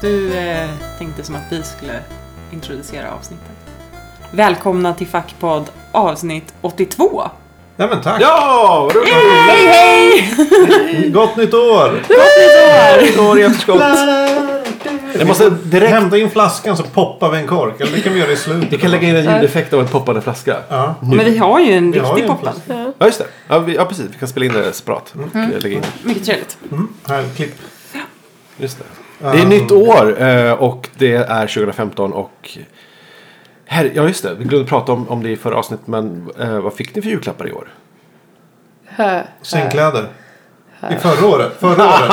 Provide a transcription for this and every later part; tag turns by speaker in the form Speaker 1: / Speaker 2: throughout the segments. Speaker 1: du eh, tänkte som att vi skulle introducera avsnittet. Välkomna till Fackpodd avsnitt 82!
Speaker 2: Nej men tack!
Speaker 3: Ja, vad roligt!
Speaker 1: Hej hej!
Speaker 2: Gott nytt år!
Speaker 3: Ett år i efterskott. Jag måste direkt...
Speaker 2: Hämta in flaskan så poppar vi en kork. Eller det kan vi göra i slutet.
Speaker 3: Vi kan lägga in en ljudeffekt av en poppande flaska.
Speaker 2: Ja.
Speaker 1: Men vi har ju en
Speaker 2: Vi har
Speaker 1: riktig
Speaker 2: ju en
Speaker 1: poppan.
Speaker 3: Ja, just det. Ja, vi, ja precis. Vi kan spela in det separat. Och eh, lägga in.
Speaker 1: Mycket trevligt.
Speaker 2: Mm. Här, klipp.
Speaker 3: Just det. Det är nytt år eh, och det är 2015 och... Herre, ja, just det. Vi glömde prata om, om det i förra avsnittet. Men eh, vad fick ni för julklappar i år?
Speaker 4: Hö.
Speaker 2: Sängkläder. I förra året. Förra året.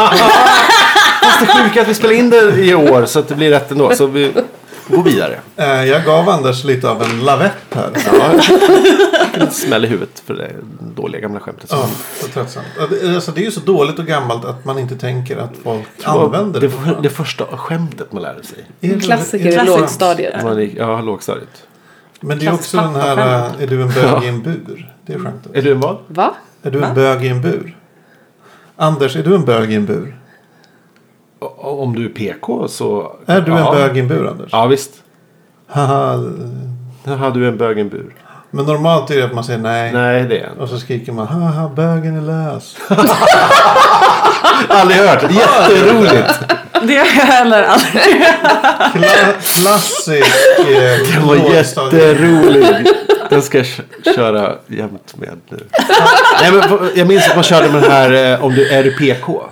Speaker 3: Fast det sjuka är att vi spelar in det i år så att det blir rätt ändå. Så vi går vidare.
Speaker 2: Eh, Jag gav Anders lite av en lavett här.
Speaker 3: Ja. Smäll i huvudet för det dåliga gamla skämtet. som
Speaker 2: Ja, så tröttsamt. Ja, det- Alltså, det är ju så dåligt och gammalt att man inte tänker att folk använder
Speaker 3: det.
Speaker 2: det.
Speaker 3: var Det första skämtet man lärde sig.
Speaker 2: Är det-
Speaker 4: Klassiker
Speaker 2: är det-
Speaker 4: i
Speaker 1: Klassiskt.
Speaker 4: lågstadiet.
Speaker 3: Man gick, ja, lågstadiet.
Speaker 2: Men det är också den här,
Speaker 1: Klasspappa-skämt.
Speaker 2: eh, är du en bög i en bur? Det är skämtet.
Speaker 3: Är du en vad?
Speaker 4: Va?
Speaker 2: Är du en bög i en bur? Anders, är du en bög i en bur?
Speaker 3: O- Om du är PK så...
Speaker 2: Är du en
Speaker 3: ja.
Speaker 2: bög i en bur, Anders?
Speaker 3: Ja, visst.
Speaker 2: Haha,
Speaker 3: Här har du en bög i en bur.
Speaker 2: Men normalt är det att man säger nej.
Speaker 3: Nej, det är en.
Speaker 2: Och så skriker man haha bögen är lös.
Speaker 3: Aldrig hört. Jätteroligt.
Speaker 1: Det har jag heller aldrig.
Speaker 2: Kla- klassisk. Eh,
Speaker 3: Den var
Speaker 2: lågstadie-
Speaker 3: jätterolig. Den ska jag kö- köra jämt med nu. Nej, men på- jag minns att man körde med den här eh, om du är du PK.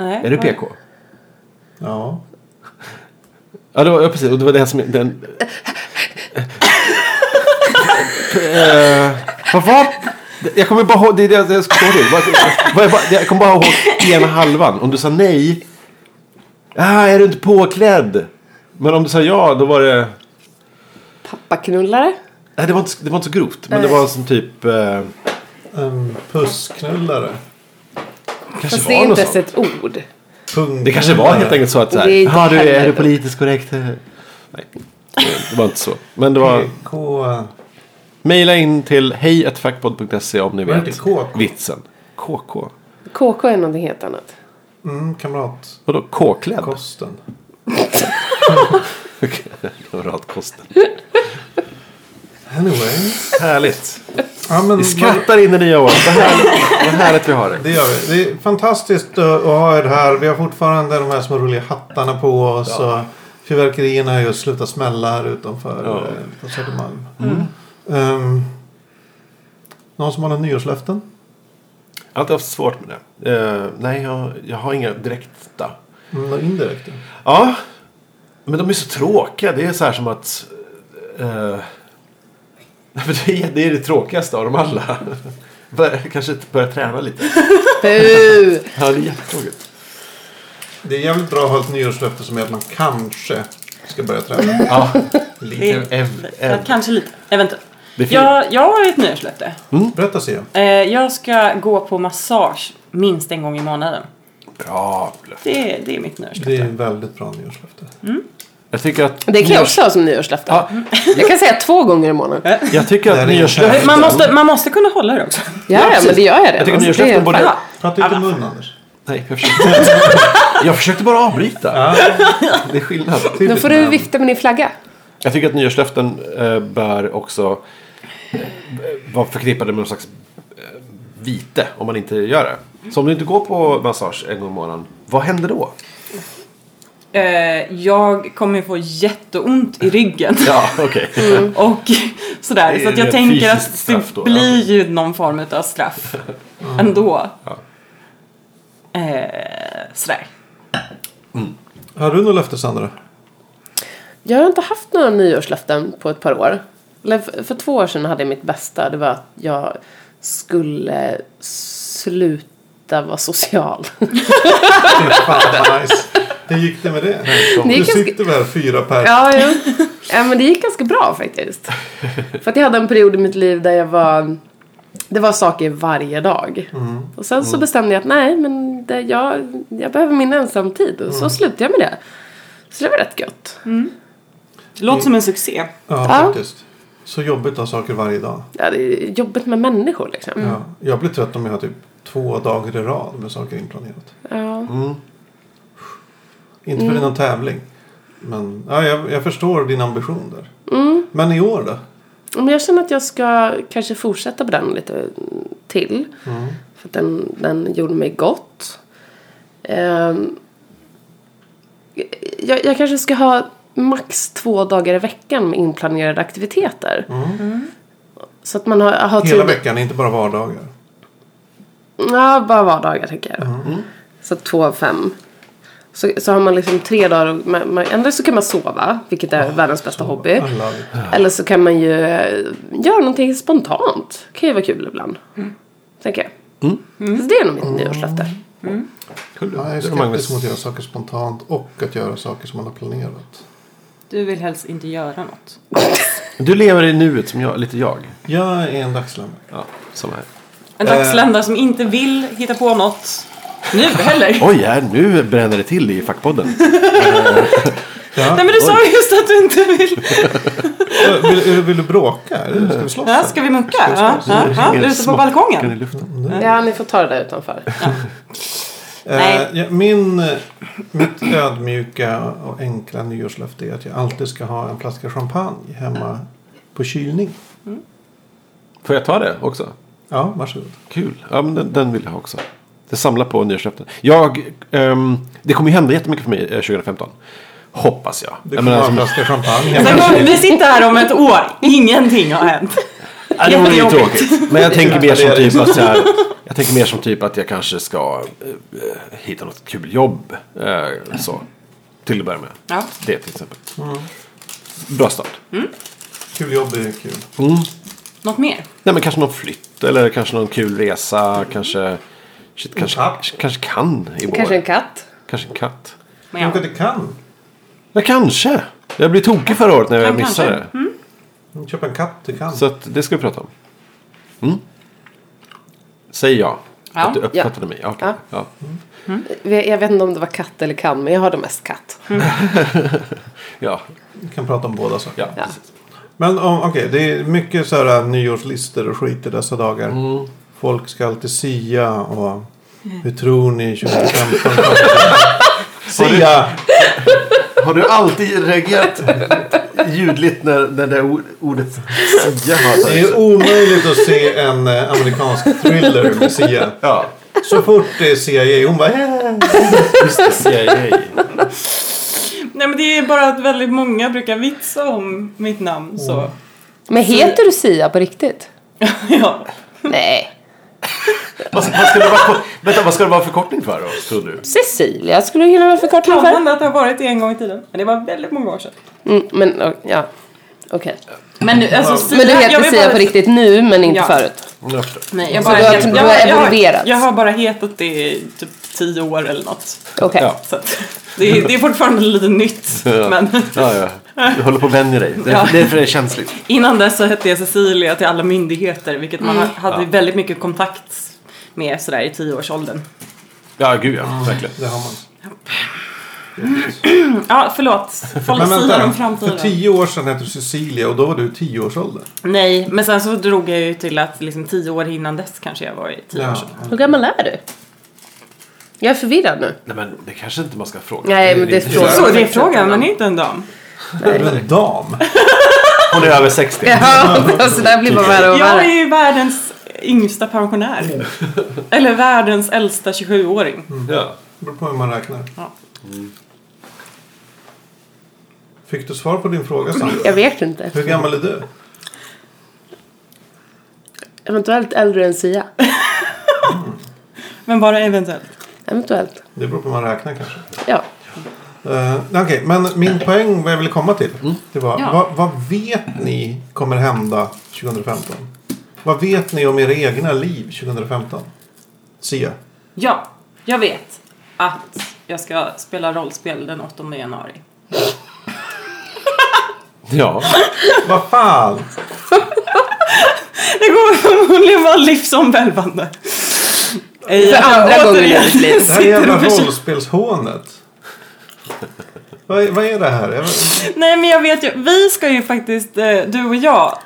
Speaker 1: Nej,
Speaker 3: Är du PK?
Speaker 2: Ja.
Speaker 3: Ja, det var, ja precis. Och det var det som... Den... Eh, Vad var... Jag kommer bara ihåg... Det är det jag ska komma ihåg. Vad- vad- vad- Jag kommer bara ihåg ena halvan. Om du sa nej. Ah, är du inte påklädd? Men om du sa ja, då var det...
Speaker 4: Pappaknullare?
Speaker 3: Nej, det var inte, det var inte så grovt. Men det var som typ... Eh,
Speaker 2: En pussknullare.
Speaker 3: kanske
Speaker 4: Fast
Speaker 3: var
Speaker 4: det är
Speaker 3: något
Speaker 4: inte ens
Speaker 3: sånt.
Speaker 4: ett ord.
Speaker 2: Pung-
Speaker 3: Det kanske var helt enkelt så att så här,
Speaker 4: Det är inte
Speaker 3: "Ah, du, är
Speaker 4: heller-
Speaker 3: du politiskt korrekt? Nej, det var inte så. Men det var...
Speaker 2: K...
Speaker 3: Maila in till hejfackpodd.se om ni
Speaker 2: Var det inte
Speaker 3: vet
Speaker 2: KK?
Speaker 3: vitsen. KK?
Speaker 4: KK är någonting helt annat.
Speaker 2: Mm, kamrat.
Speaker 3: Vadå K-klädd?
Speaker 2: Kosten.
Speaker 3: Kamratkosten.
Speaker 2: Anyway.
Speaker 3: Härligt.
Speaker 2: Ja, men
Speaker 3: Vi skrattar in i nya året. Vad härligt, vad härligt vi har det.
Speaker 2: Det gör vi. Det är fantastiskt eh, att ha er här. Vi har fortfarande de här små roliga hattarna på oss. Och fyrverkerierna har just slutat smälla här utanför
Speaker 3: Ja.
Speaker 2: eh, på Södermalm.
Speaker 4: Mm.
Speaker 2: Ehm, någon som har några nyårslöften?
Speaker 3: Jag har alltid haft svårt med det. Eh, nej, jag, jag har inga direkta.
Speaker 2: Mm, några indirekta?
Speaker 3: Ja, men de är så tråkiga. Det är så här som att... eh, för det, är, det är det tråkigaste av dem alla. Bör, kanske börja träna lite.
Speaker 4: Bu!
Speaker 3: Ja, det är jättetråkigt.
Speaker 2: Det är jävligt bra att ha ett nyårslöfte som är att man kanske ska börja
Speaker 4: Mm.
Speaker 2: träna.
Speaker 3: Ja,
Speaker 2: Lite.
Speaker 3: ev,
Speaker 1: Ja,
Speaker 3: ev.
Speaker 1: Kanske lite. Eventuellt.
Speaker 3: Det är fint.
Speaker 1: Jag, jag har ett nyårslöfte.
Speaker 2: Berätta Sia.
Speaker 1: Eh, Jag ska gå på massage minst en gång i månaden.
Speaker 3: Bra löfte.
Speaker 1: Det, det är mitt nyårslöfte.
Speaker 2: Det är ett väldigt bra nyårslöfte.
Speaker 3: Jag tycker att...
Speaker 4: Det kan jag också ha som nyårslöfte.
Speaker 3: Ja.
Speaker 4: Jag kan säga två gånger i månaden.
Speaker 3: Jag tycker
Speaker 2: Det här
Speaker 3: att
Speaker 2: är
Speaker 3: nyårslöften...
Speaker 1: Man måste, man måste kunna hålla det också.
Speaker 4: Ja, ja, men det gör jag
Speaker 3: Jag
Speaker 4: redan.
Speaker 3: tycker
Speaker 4: Alltså, det
Speaker 3: nyårslöften
Speaker 4: är-
Speaker 3: borde...
Speaker 1: Fan.
Speaker 2: Prata ut i mun Anders.
Speaker 3: Nej, jag försökte, jag försökte bara avbryta. Det är skillnad.
Speaker 4: Då får du vifta med din flagga.
Speaker 3: Jag tycker att nyårslöften eh, bör också eh, vara förknippade med någon slags eh, vite om man inte gör det. Så om du inte går på massage en gång i månaden, vad händer då?
Speaker 1: Eh, Jag kommer få jätteont i ryggen.
Speaker 3: Ja, okej.
Speaker 4: Mm.
Speaker 3: Mm.
Speaker 1: Och sådär.
Speaker 3: Det är
Speaker 1: Så att jag
Speaker 3: ett
Speaker 1: tänker
Speaker 3: fysiskt
Speaker 1: att
Speaker 3: straff
Speaker 1: det
Speaker 3: då, ja.
Speaker 1: blir ju någon form av straff ändå.
Speaker 3: Ja.
Speaker 1: Eh, sådär.
Speaker 2: Har du något löfte Sandra?
Speaker 4: Jag har inte haft några nyårslöften på ett par år. Eller för för två år sedan hade jag mitt bästa. Det var att jag skulle sluta vara social.
Speaker 2: Fy fan vad nice. Hur gick det med det?
Speaker 4: Det
Speaker 2: Nu
Speaker 4: gick ganska-
Speaker 2: sitter vi här fyra pers.
Speaker 4: Ja, jo. ja, men det gick ganska bra faktiskt. För att jag hade en period i mitt liv där jag var... Det var saker varje dag. Och sen så bestämde jag att nej, men det, jag, jag behöver min ensamtid. Och så slutade jag med det. Så det var rätt gött.
Speaker 1: Det låter som en succé.
Speaker 2: Ja,
Speaker 4: Ja.
Speaker 2: faktiskt. Så jobbigt att ha saker varje dag.
Speaker 4: Ja, det är jobbigt med människor liksom.
Speaker 2: Ja, jag blir trött om jag har typ två dagar i rad med saker inplanerat.
Speaker 4: Ja.
Speaker 2: Inte för någon tävling. Men ja, jag, jag förstår din ambition där. Men i år då?
Speaker 4: Men jag känner att jag ska kanske fortsätta på den lite till.
Speaker 2: Mm.
Speaker 4: För att den, den gjorde mig gott. Ehm, jag, jag kanske ska ha max två dagar i veckan med inplanerade aktiviteter. Så att man har, har
Speaker 2: Mm. Hela
Speaker 4: tid-
Speaker 2: veckan, inte bara vardagar.
Speaker 4: Ja, bara vardagar tänker jag.
Speaker 2: Mm.
Speaker 4: Så två av fem. Så, så har man liksom tre dagar. och Man, man, ändå så kan man sova, vilket är världens bästa hobby.
Speaker 2: I love it.
Speaker 4: Eller så kan man ju eh, göra någonting spontant. Kan ju vara kul ibland.
Speaker 1: Mm.
Speaker 4: Tänker jag. Mm. Så det är nog mitt nyårslöfte.
Speaker 3: Kul.
Speaker 2: Ja, jag är
Speaker 3: Det Magnus.
Speaker 2: skeptisk mot att göra saker spontant och att göra saker som man har planerat.
Speaker 1: Du vill helst inte göra något.
Speaker 3: Du lever i nuet som jag, lite jag.
Speaker 2: Jag är en dagsländare.
Speaker 3: Ja, som här.
Speaker 1: En
Speaker 3: Eh.
Speaker 1: dagsländare som inte vill hitta på något nu heller.
Speaker 3: Oj, här, nu bränner det till i fackpodden.
Speaker 1: Nej men du sa ju just att du inte vill.
Speaker 2: Ö, Vill, vill du bråka? Är det- Ska vi slåss?
Speaker 1: Ja, ska vi munka? Ja, ja, ja. Du är ute på
Speaker 3: Smockan i
Speaker 1: balkongen.
Speaker 3: luften.
Speaker 4: Ja, ni får ta det där utanför.
Speaker 1: Nej.
Speaker 2: Eh, ja, min, eh, mitt ödmjuka och enkla nyårslöfte är att jag alltid ska ha en flaska champagne hemma på kylning.
Speaker 3: Får jag ta det också?
Speaker 2: Ja, varsågod.
Speaker 3: Kul. Ja, men den, den vill jag ha också. Det samlar på nyårslöften. Jag, ehm, det kommer ju hända jättemycket för mig eh, 2015. Hoppas jag.
Speaker 2: Du
Speaker 3: jag
Speaker 2: kommer
Speaker 3: menar, alltså,
Speaker 2: ha en
Speaker 3: som-
Speaker 2: flaska champagne hemma.
Speaker 1: Sen kommer vi sitta här om ett år. Ingenting har hänt.
Speaker 3: Ja, det vore ju
Speaker 1: Jättejobbigt.
Speaker 3: tråkigt. Men jag tänker mer som
Speaker 2: Det är
Speaker 3: typ att så här, Jag tänker mer som typ att jag kanske ska eh, eh, hitta något kul jobb. Eh, så. Till att börja med.
Speaker 1: Ja.
Speaker 3: Det till exempel.
Speaker 2: Mm.
Speaker 3: Bra start.
Speaker 2: Kul jobb är kul.
Speaker 1: Något mer?
Speaker 3: Nej, men kanske någon flytt eller kanske någon kul resa. Kanske, shit, kanske,
Speaker 2: katt.
Speaker 3: kanske kan i vår.
Speaker 4: Kanske en katt.
Speaker 3: Kanske en katt.
Speaker 1: Men
Speaker 2: Tänk
Speaker 1: ja.
Speaker 2: att du kan.
Speaker 3: Ja, kanske. Jag blev tokig förra året när jag
Speaker 1: Ja,
Speaker 3: missade
Speaker 1: kanske. Mm.
Speaker 3: det.
Speaker 2: Köp en katt, du kan.
Speaker 3: Så att det ska vi prata om. Mm. Säg ja.
Speaker 1: Ja.
Speaker 3: Att du uppfattade mig. Ja, okej.
Speaker 4: Ja.
Speaker 3: Ja.
Speaker 1: Mm.
Speaker 4: Jag vet inte om det var katt eller kan, men jag har det mest katt.
Speaker 3: Ja.
Speaker 2: Vi kan prata om båda saker.
Speaker 3: Ja.
Speaker 4: Ja.
Speaker 2: Men om, okej, det är mycket så här nyårslistor och skit i dessa dagar.
Speaker 3: Mm.
Speaker 2: Folk ska alltid sia och hur tror ni 2015? sia!
Speaker 3: Har du alltid reagerat ljudligt när, när det or- ordet sia har
Speaker 2: Det är omöjligt att se en eh, amerikansk thriller med sia.
Speaker 3: Ja.
Speaker 2: Så fort det är CIA, hon bara "Eh."
Speaker 3: CIA.
Speaker 1: Nej men det är bara att väldigt många brukar vitsa om mitt namn så. Mm.
Speaker 4: Men heter du Sia på riktigt?
Speaker 1: ja.
Speaker 4: Nej.
Speaker 3: Vad, vad, ska det vara, vänta, vad ska det vara förkortning för då, tror du?
Speaker 4: Cecilia skulle du kunna vara förkortning
Speaker 1: Kan
Speaker 4: för.
Speaker 1: hända att det har varit det en gång i tiden. Men det var väldigt många år sedan.
Speaker 4: Mm, men ja, okej.
Speaker 1: Men nu, alltså, Sia,
Speaker 4: Men du
Speaker 1: jag
Speaker 4: heter
Speaker 1: vill
Speaker 4: Sia
Speaker 1: bara-
Speaker 4: på riktigt nu, men inte
Speaker 1: Ja.
Speaker 4: förut?
Speaker 3: Jag förstår.
Speaker 1: Nej, jag
Speaker 4: Så
Speaker 1: bara,
Speaker 4: du har- liksom-
Speaker 1: jag,
Speaker 4: du
Speaker 1: jag,
Speaker 4: har
Speaker 1: jag,
Speaker 4: evolverat.
Speaker 1: Jag, har bara hetat det i typ tio år eller något.
Speaker 4: Okej.
Speaker 3: Ja.
Speaker 1: Så att, det, är, det är fortfarande lite nytt.
Speaker 3: Ja.
Speaker 1: Men
Speaker 3: Ja, ja. Du håller på att vänja dig. Det är,
Speaker 1: Ja.
Speaker 3: det är för det är känsligt.
Speaker 1: innan dess så hette jag Cecilia till alla myndigheter. Vilket man
Speaker 4: Mm.
Speaker 1: hade väldigt mycket kontakt med sådär i tioårsåldern.
Speaker 3: Ja, gud ja. Verkligen.
Speaker 2: Det har man.
Speaker 1: Ja, förlåt. Folk
Speaker 2: Men
Speaker 1: siar om
Speaker 2: vänta, för
Speaker 1: framtiden.
Speaker 2: tio år sedan hette du Cecilia och då var du tio års ålder.
Speaker 1: Nej, men sen så drog jag ju till att liksom tio år innan dess kanske jag var i tio år
Speaker 2: Ja.
Speaker 1: sedan.
Speaker 4: Hur gammal är du? Jag är förvirrad nu.
Speaker 3: Nej, men det kanske inte man ska fråga.
Speaker 4: Nej, men det
Speaker 3: är-
Speaker 4: frågar
Speaker 1: Så det är frågan, men det är inte en dam.
Speaker 2: Du är en dam.
Speaker 3: Hon är över 60.
Speaker 4: Ja, alltså det här blir bara värre och
Speaker 1: Jag
Speaker 4: värre.
Speaker 1: är ju världens yngsta
Speaker 2: Mm.
Speaker 1: pensionär. Eller världens äldsta 27-åring.
Speaker 3: Ja.
Speaker 2: beror på hur man räknar.
Speaker 1: Ja.
Speaker 2: Fick du svar på din fråga Sandra?
Speaker 4: Jag vet inte.
Speaker 2: Hur gammal är du?
Speaker 4: Eventuellt äldre än Sia.
Speaker 1: Men bara eventuellt.
Speaker 4: Eventuellt.
Speaker 2: Det beror på hur man räknar kanske.
Speaker 4: Ja.
Speaker 2: Eh, Okej, men min poäng, vad jag ville komma till, det var
Speaker 1: Ja.
Speaker 2: vad, vad vet ni kommer hända 2015? Vad vet ni om era egna liv 2015? Sia.
Speaker 1: Ja, jag vet att jag ska spela rollspel den 8 januari.
Speaker 3: ja.
Speaker 2: Vad fan!
Speaker 1: Det kommer förmodligen vara livsomvälvande. För
Speaker 4: andra gången i mitt liv.
Speaker 2: Det här är jävla rollspelshånet. vad, är- vad är det här? Jag vet-
Speaker 1: Nej men jag vet ju, vi ska ju faktiskt, eh, du och jag,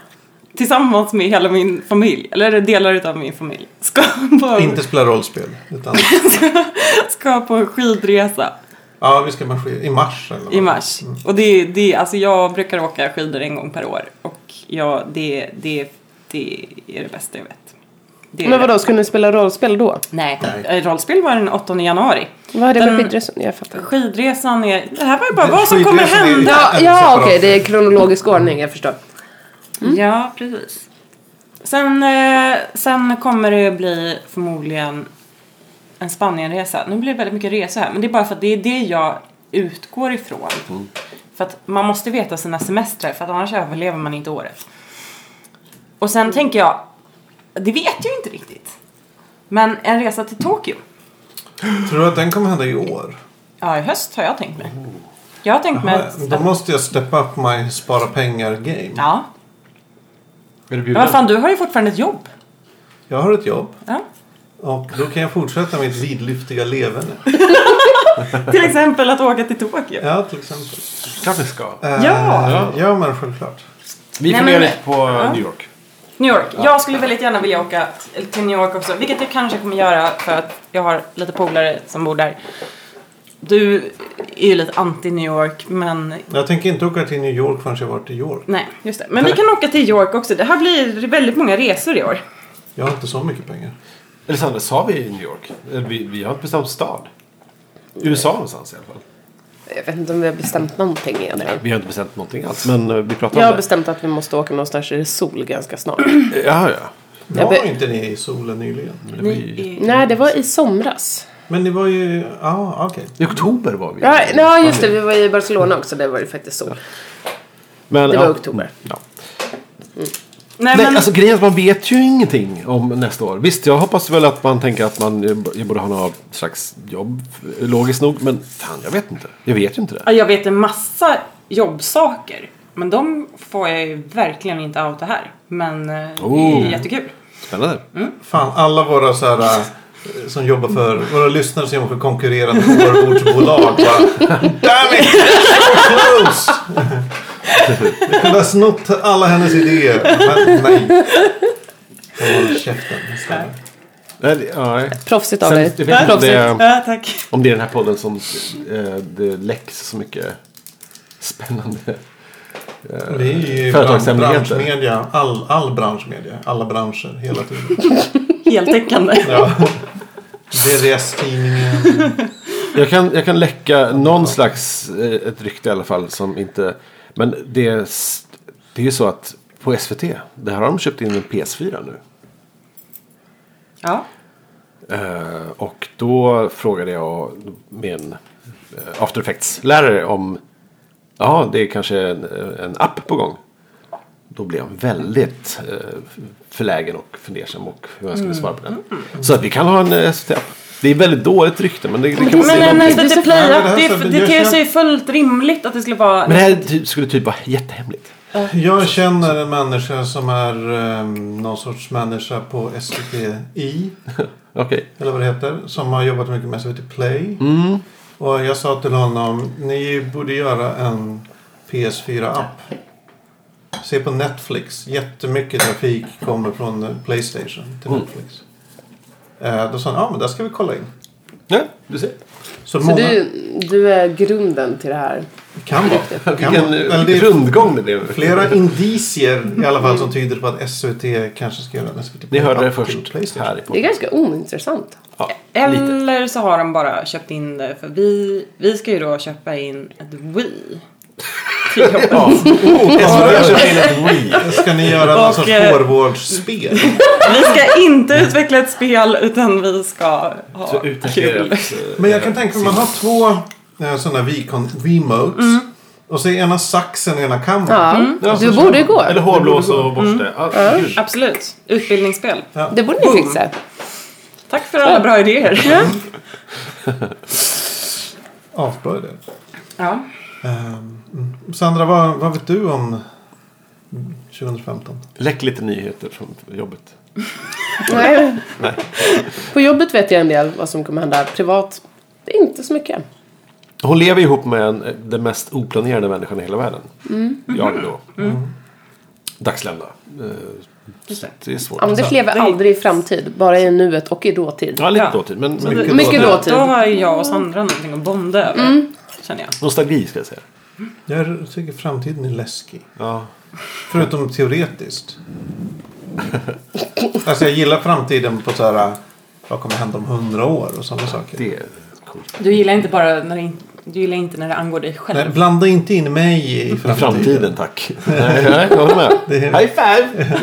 Speaker 1: tillsammans med hela min familj, eller delar utav min familj, ska på,
Speaker 2: Inte spela rollspel. Utan
Speaker 1: ska på skidresa
Speaker 2: Ja, vi ska marschera i mars eller vad?
Speaker 1: I mars. Och det, det, alltså jag brukar åka skidor en gång per år. Och ja, det, det, det är det bästa jag vet. Det är
Speaker 4: Men
Speaker 1: det.
Speaker 4: vadå, skulle ni spela rollspel då?
Speaker 1: Nej.
Speaker 2: Nej.
Speaker 1: Eh, Rollspel var den 8 januari.
Speaker 4: Vad är det
Speaker 1: Den-
Speaker 3: Mm.
Speaker 4: för skidresor? Jag fattar.
Speaker 1: Skidresan är... Det här var ju bara vad som kommer
Speaker 2: Skidresan är ju-
Speaker 1: hända.
Speaker 4: Ja,
Speaker 2: en
Speaker 4: ja
Speaker 2: separat
Speaker 4: okej, det är kronologisk ordning, jag förstår.
Speaker 2: Mm.
Speaker 1: Ja, precis. Sen, eh, sen kommer det bli förmodligen en Spanienresa. Nu blir det väldigt mycket resor här, men det är bara för att det är det jag utgår ifrån.
Speaker 2: Mm.
Speaker 1: För att man måste veta sina semestrar, för att annars överlever man inte året. Och sen tänker jag, det vet jag inte riktigt. Men en resa till Tokyo.
Speaker 2: Tror du att den kommer hända i år?
Speaker 1: Ja, i höst har jag tänkt mig. Jag har tänkt mig
Speaker 2: Oh. Men, då
Speaker 1: att...
Speaker 2: måste jag step up my spara pengar game.
Speaker 1: Ja.
Speaker 3: Är du
Speaker 1: Men vad fan, du har ju fortfarande ett jobb.
Speaker 2: Jag har ett jobb
Speaker 1: Ja.
Speaker 2: och då kan jag fortsätta mitt vidlyftiga leverne.
Speaker 1: Till exempel att åka till Tokyo.
Speaker 2: Ja, till exempel.
Speaker 3: Klart vi ska.
Speaker 2: Eh,
Speaker 1: Ja.
Speaker 2: Ja, men självklart.
Speaker 3: Vi
Speaker 1: Nej,
Speaker 3: funderar
Speaker 1: men-
Speaker 3: lite på New York.
Speaker 1: New York. Jag skulle väldigt gärna vilja åka till New York också, vilket jag kanske kommer göra för att jag har lite polare som bor där. Du är ju lite anti New York, men
Speaker 2: Jag tänker inte åka till New York förrän jag varit i York.
Speaker 1: nej, just det. Men vi kan åka till York också. Det här blir väldigt många resor i år.
Speaker 2: Jag har inte så mycket pengar.
Speaker 3: Eller Sandra, sa vi New York? Eller Vi, vi har inte bestämt stad. USA någonstans i alla fall.
Speaker 4: Jag vet inte om vi har bestämt någonting egentligen.
Speaker 3: Vi har inte bestämt någonting alls. Men eh, vi pratar
Speaker 4: Jag har
Speaker 3: om det.
Speaker 4: bestämt att vi måste åka någonstans där det är sol ganska snart.
Speaker 3: Ja, ja.
Speaker 4: Jag
Speaker 2: Var
Speaker 4: be-
Speaker 2: inte ni i solen nyligen?
Speaker 3: Det var i,
Speaker 4: Nej, det var i somras.
Speaker 2: Men det var ju... Ja, okej.
Speaker 3: I oktober var vi.
Speaker 4: Ja, ja just det. Vi var i Barcelona också. Där var det faktiskt sol.
Speaker 3: Men,
Speaker 4: det var oktober.
Speaker 3: Ja.
Speaker 1: Nej,
Speaker 3: Nej,
Speaker 1: men
Speaker 3: alltså grejen är att man vet ju ingenting om nästa år. Visst, jag hoppas väl att man tänker att man eh, jag borde ha något slags jobb, eh, logiskt nog. Men fan, jag vet inte. Jag vet ju inte det.
Speaker 1: Ja, jag vet en massa jobbsaker, men de får jag ju verkligen inte outa här. Men eh, det
Speaker 3: Oh.
Speaker 1: är jättekul.
Speaker 3: Spännande.
Speaker 1: Mm.
Speaker 2: Fan, alla våra så här... eh, Som jobbar för... Våra lyssnare som jobbar för konkurrerande hårbordsbolag bara... Damn it! So close! Vi kunde ha snott alla hennes idéer. Men nej. Håll käften istället.
Speaker 3: Nej, det- ja, nej.
Speaker 4: Proffsigt av
Speaker 3: Sen, jag
Speaker 4: dig.
Speaker 3: vet inte om det, är,
Speaker 1: Ja, tack.
Speaker 3: om det är den här podden som eh, det läcks så mycket spännande.
Speaker 2: Det är ju bran-
Speaker 3: Företagshemligheter.
Speaker 2: branschmedia. All, all branschmedia. Alla branscher. Hela tiden.
Speaker 1: Heltäckande.
Speaker 2: Ja. DDS-tidningen.
Speaker 3: Jag kan, jag kan läcka någon slags eh, ett rykte i alla fall som inte... Men det, är s- det är ju så att på SVT, där har de köpt in en PS4 nu.
Speaker 1: Ja.
Speaker 3: Eh, och då frågade jag min eh, After Effects-lärare om ja, det är kanske en, en app på gång. Då blev han väldigt eh, förlägen och fundersam och hur han
Speaker 1: Mm.
Speaker 3: skulle svara på den. Så att vi kan ha en eh, SVT-app. Det är väldigt dåligt rykte men det, det kan man
Speaker 1: Men
Speaker 3: säga
Speaker 1: en
Speaker 3: någonting.
Speaker 1: SVT Play,
Speaker 2: Ja, men det här
Speaker 1: eh, det,
Speaker 2: så-
Speaker 1: det,
Speaker 2: jag
Speaker 1: ter
Speaker 2: känner-
Speaker 1: sig fullt rimligt att det skulle vara...
Speaker 3: Men det här ty- skulle typ vara jättehemligt.
Speaker 2: Jag känner en människa som är um, någon sorts människa på SVTI.
Speaker 3: Okej.
Speaker 2: Eller vad det heter. Som har jobbat mycket med SVT Play. Och jag sa till honom. Ni borde göra en PS4-app. Se på Netflix. Jättemycket trafik kommer från eh, Playstation till Netflix. Eh, Då sa han, ja men där ska vi kolla in.
Speaker 3: Ja, du ser.
Speaker 2: Så,
Speaker 4: Så
Speaker 2: många
Speaker 4: du, du är grunden till det här.
Speaker 2: kan vara. Kan
Speaker 3: Vilken
Speaker 2: vara. Eller det
Speaker 3: eh,
Speaker 2: är
Speaker 3: rundgång det blev.
Speaker 2: flera indicier i alla fall som tyder på att SVT kanske ska göra en SVT
Speaker 3: Ni hörde det
Speaker 2: Play-app till
Speaker 3: först
Speaker 2: Playstation.
Speaker 3: här i
Speaker 4: Det är
Speaker 3: podden.
Speaker 4: ganska ointressant.
Speaker 3: Ja, lite.
Speaker 1: Eller så har de bara köpt in det för vi, vi ska ju då köpa in ett Wii. till jobbet.
Speaker 3: Oh, Jag kör in ett Wii.
Speaker 2: Ska ni göra någon
Speaker 1: Och,
Speaker 2: sorts
Speaker 1: eh,
Speaker 2: hårvårdsspel?
Speaker 1: Vi ska inte utveckla ett spel utan vi ska ha
Speaker 3: Så utnyttjar jag,
Speaker 1: kul.
Speaker 3: eh,
Speaker 2: Men jag kan tänka mig, man har två eh, sådana Wiimotes. Och så är ena saxen i ena kammaren.
Speaker 4: Mm. Ja,
Speaker 3: Mm. Ja,
Speaker 4: du
Speaker 3: så-
Speaker 4: borde ju gå.
Speaker 3: Alltså, Eller hårblås och borste. Ja, gud.
Speaker 1: Absolut, utbildningsspel.
Speaker 4: Det borde ni fixa.
Speaker 1: Tack för alla bra idéer.
Speaker 2: Asbra idé.
Speaker 1: Ja.
Speaker 2: Ehm, mm. Sandra, vad, vad vet du om 2015?
Speaker 3: Läck lite nyheter från jobbet.
Speaker 4: Nej. På jobbet vet jag en del vad som kommer hända. Privat, det är inte så mycket.
Speaker 3: Hon lever ihop med en, eh, den mest oplanerade människan i hela världen.
Speaker 4: Mm.
Speaker 3: Jag
Speaker 4: Mm-hmm.
Speaker 3: då. Dagslända. Eh, så Det är svårt.
Speaker 4: Anders lever aldrig i framtid, bara i nuet och i dåtid.
Speaker 3: Ja, lite
Speaker 1: Ja.
Speaker 3: dåtid. Men, men
Speaker 4: Mycket
Speaker 1: då,
Speaker 4: dåtid.
Speaker 1: Då har ju jag och Sandra någonting att bonda över. känner jag.
Speaker 3: Nostalgi ska jag säga.
Speaker 2: Jag tycker framtiden är läskig.
Speaker 3: Ja.
Speaker 2: Förutom teoretiskt. Alltså jag gillar framtiden på så här. Vad kommer hända om hundra år och sådana saker.
Speaker 3: Det är coolt.
Speaker 1: Du gillar inte bara när det, in- du gillar inte när det angår dig själv.
Speaker 2: Nej, blanda inte in mig i
Speaker 3: I
Speaker 2: framtiden.
Speaker 3: framtiden tack. Nej, nej, jag håller med.
Speaker 2: Det är-
Speaker 3: High five!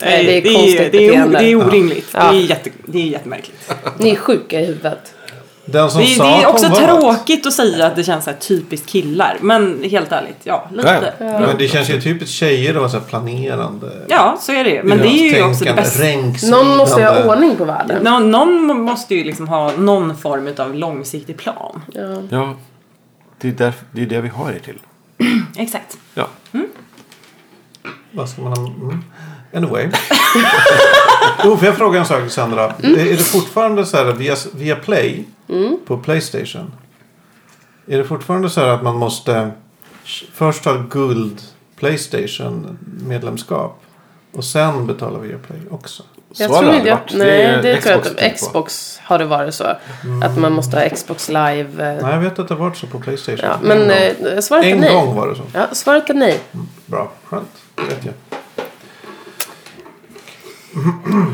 Speaker 1: Nej,
Speaker 4: det är
Speaker 1: ju-
Speaker 4: konstigt
Speaker 1: det, är, o-
Speaker 4: beteende.
Speaker 1: det är orimligt.
Speaker 4: Ja.
Speaker 1: Det, är jätte, det är jättemärkligt.
Speaker 4: Ni är sjuka i huvudet.
Speaker 2: Den som
Speaker 1: Det, är-
Speaker 2: sa
Speaker 1: det är också
Speaker 2: kom var.
Speaker 1: tråkigt att säga att det känns så här typiskt killar. Men helt ärligt, ja lite. Ja,
Speaker 2: Men det känns ju typiskt tjejer att vara så här planerande.
Speaker 1: så är det ju. Men det är ju också det
Speaker 2: Tänkande,
Speaker 1: bästa.
Speaker 2: ränksvidande.
Speaker 4: Någon måste ju ha ordning på världen.
Speaker 1: Nå, någon må- måste ju liksom ha någon form av långsiktig plan.
Speaker 4: Ja.
Speaker 3: Ja, det är, därför, det är det vi har er till.
Speaker 1: Exakt.
Speaker 3: Ja.
Speaker 2: Vad ska man ha? Mm. Anyway. jo, för jag frågar en sak Sandra.
Speaker 4: Mm.
Speaker 2: Är är det fortfarande så här via, via Play på Playstation? Är det fortfarande så här att man måste först ha guld Playstation medlemskap och sen betala via Play också?
Speaker 4: Jag
Speaker 3: Så har
Speaker 4: tror
Speaker 3: det
Speaker 4: inte jag,
Speaker 3: aldrig varit.
Speaker 4: nej,
Speaker 3: är
Speaker 4: det, tror jag
Speaker 3: Xbox
Speaker 4: att
Speaker 3: tänker på. Mm.
Speaker 4: Xbox har det varit så. Att man måste ha Xbox live. eh,
Speaker 2: Nej, jag vet att det har varit så på Playstation.
Speaker 4: Ja, men
Speaker 2: en
Speaker 4: eh, svaret är
Speaker 2: gång, en
Speaker 4: nej.
Speaker 2: gång var det så.
Speaker 4: Ja, svaret är nej.
Speaker 2: Bra, skönt. Det vet jag.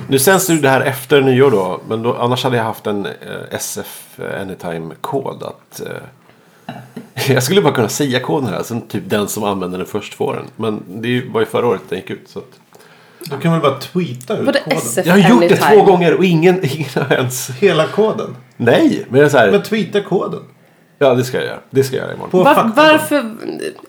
Speaker 3: Nu sänds ju det här efter nyår då. Men då, annars hade jag haft en eh, SF Anytime-kod. Att, eh, jag skulle bara kunna säga koden här. Sen typ den som använder den först får den. Men det är ju- var ju förra året den gick ut. Så att...
Speaker 2: Du kan väl bara tweeta ut
Speaker 4: Både
Speaker 2: koden?
Speaker 4: SF
Speaker 3: Jag har gjort det
Speaker 4: Anytime.
Speaker 3: två gånger och ingen, ingen har ens...
Speaker 2: Hela koden?
Speaker 3: Nej, men jag är så
Speaker 2: Men
Speaker 3: här.
Speaker 2: tweeta koden.
Speaker 3: Ja, det ska jag göra. Det ska jag göra imorgon.
Speaker 2: På
Speaker 4: Var,
Speaker 2: fakta.
Speaker 4: varför?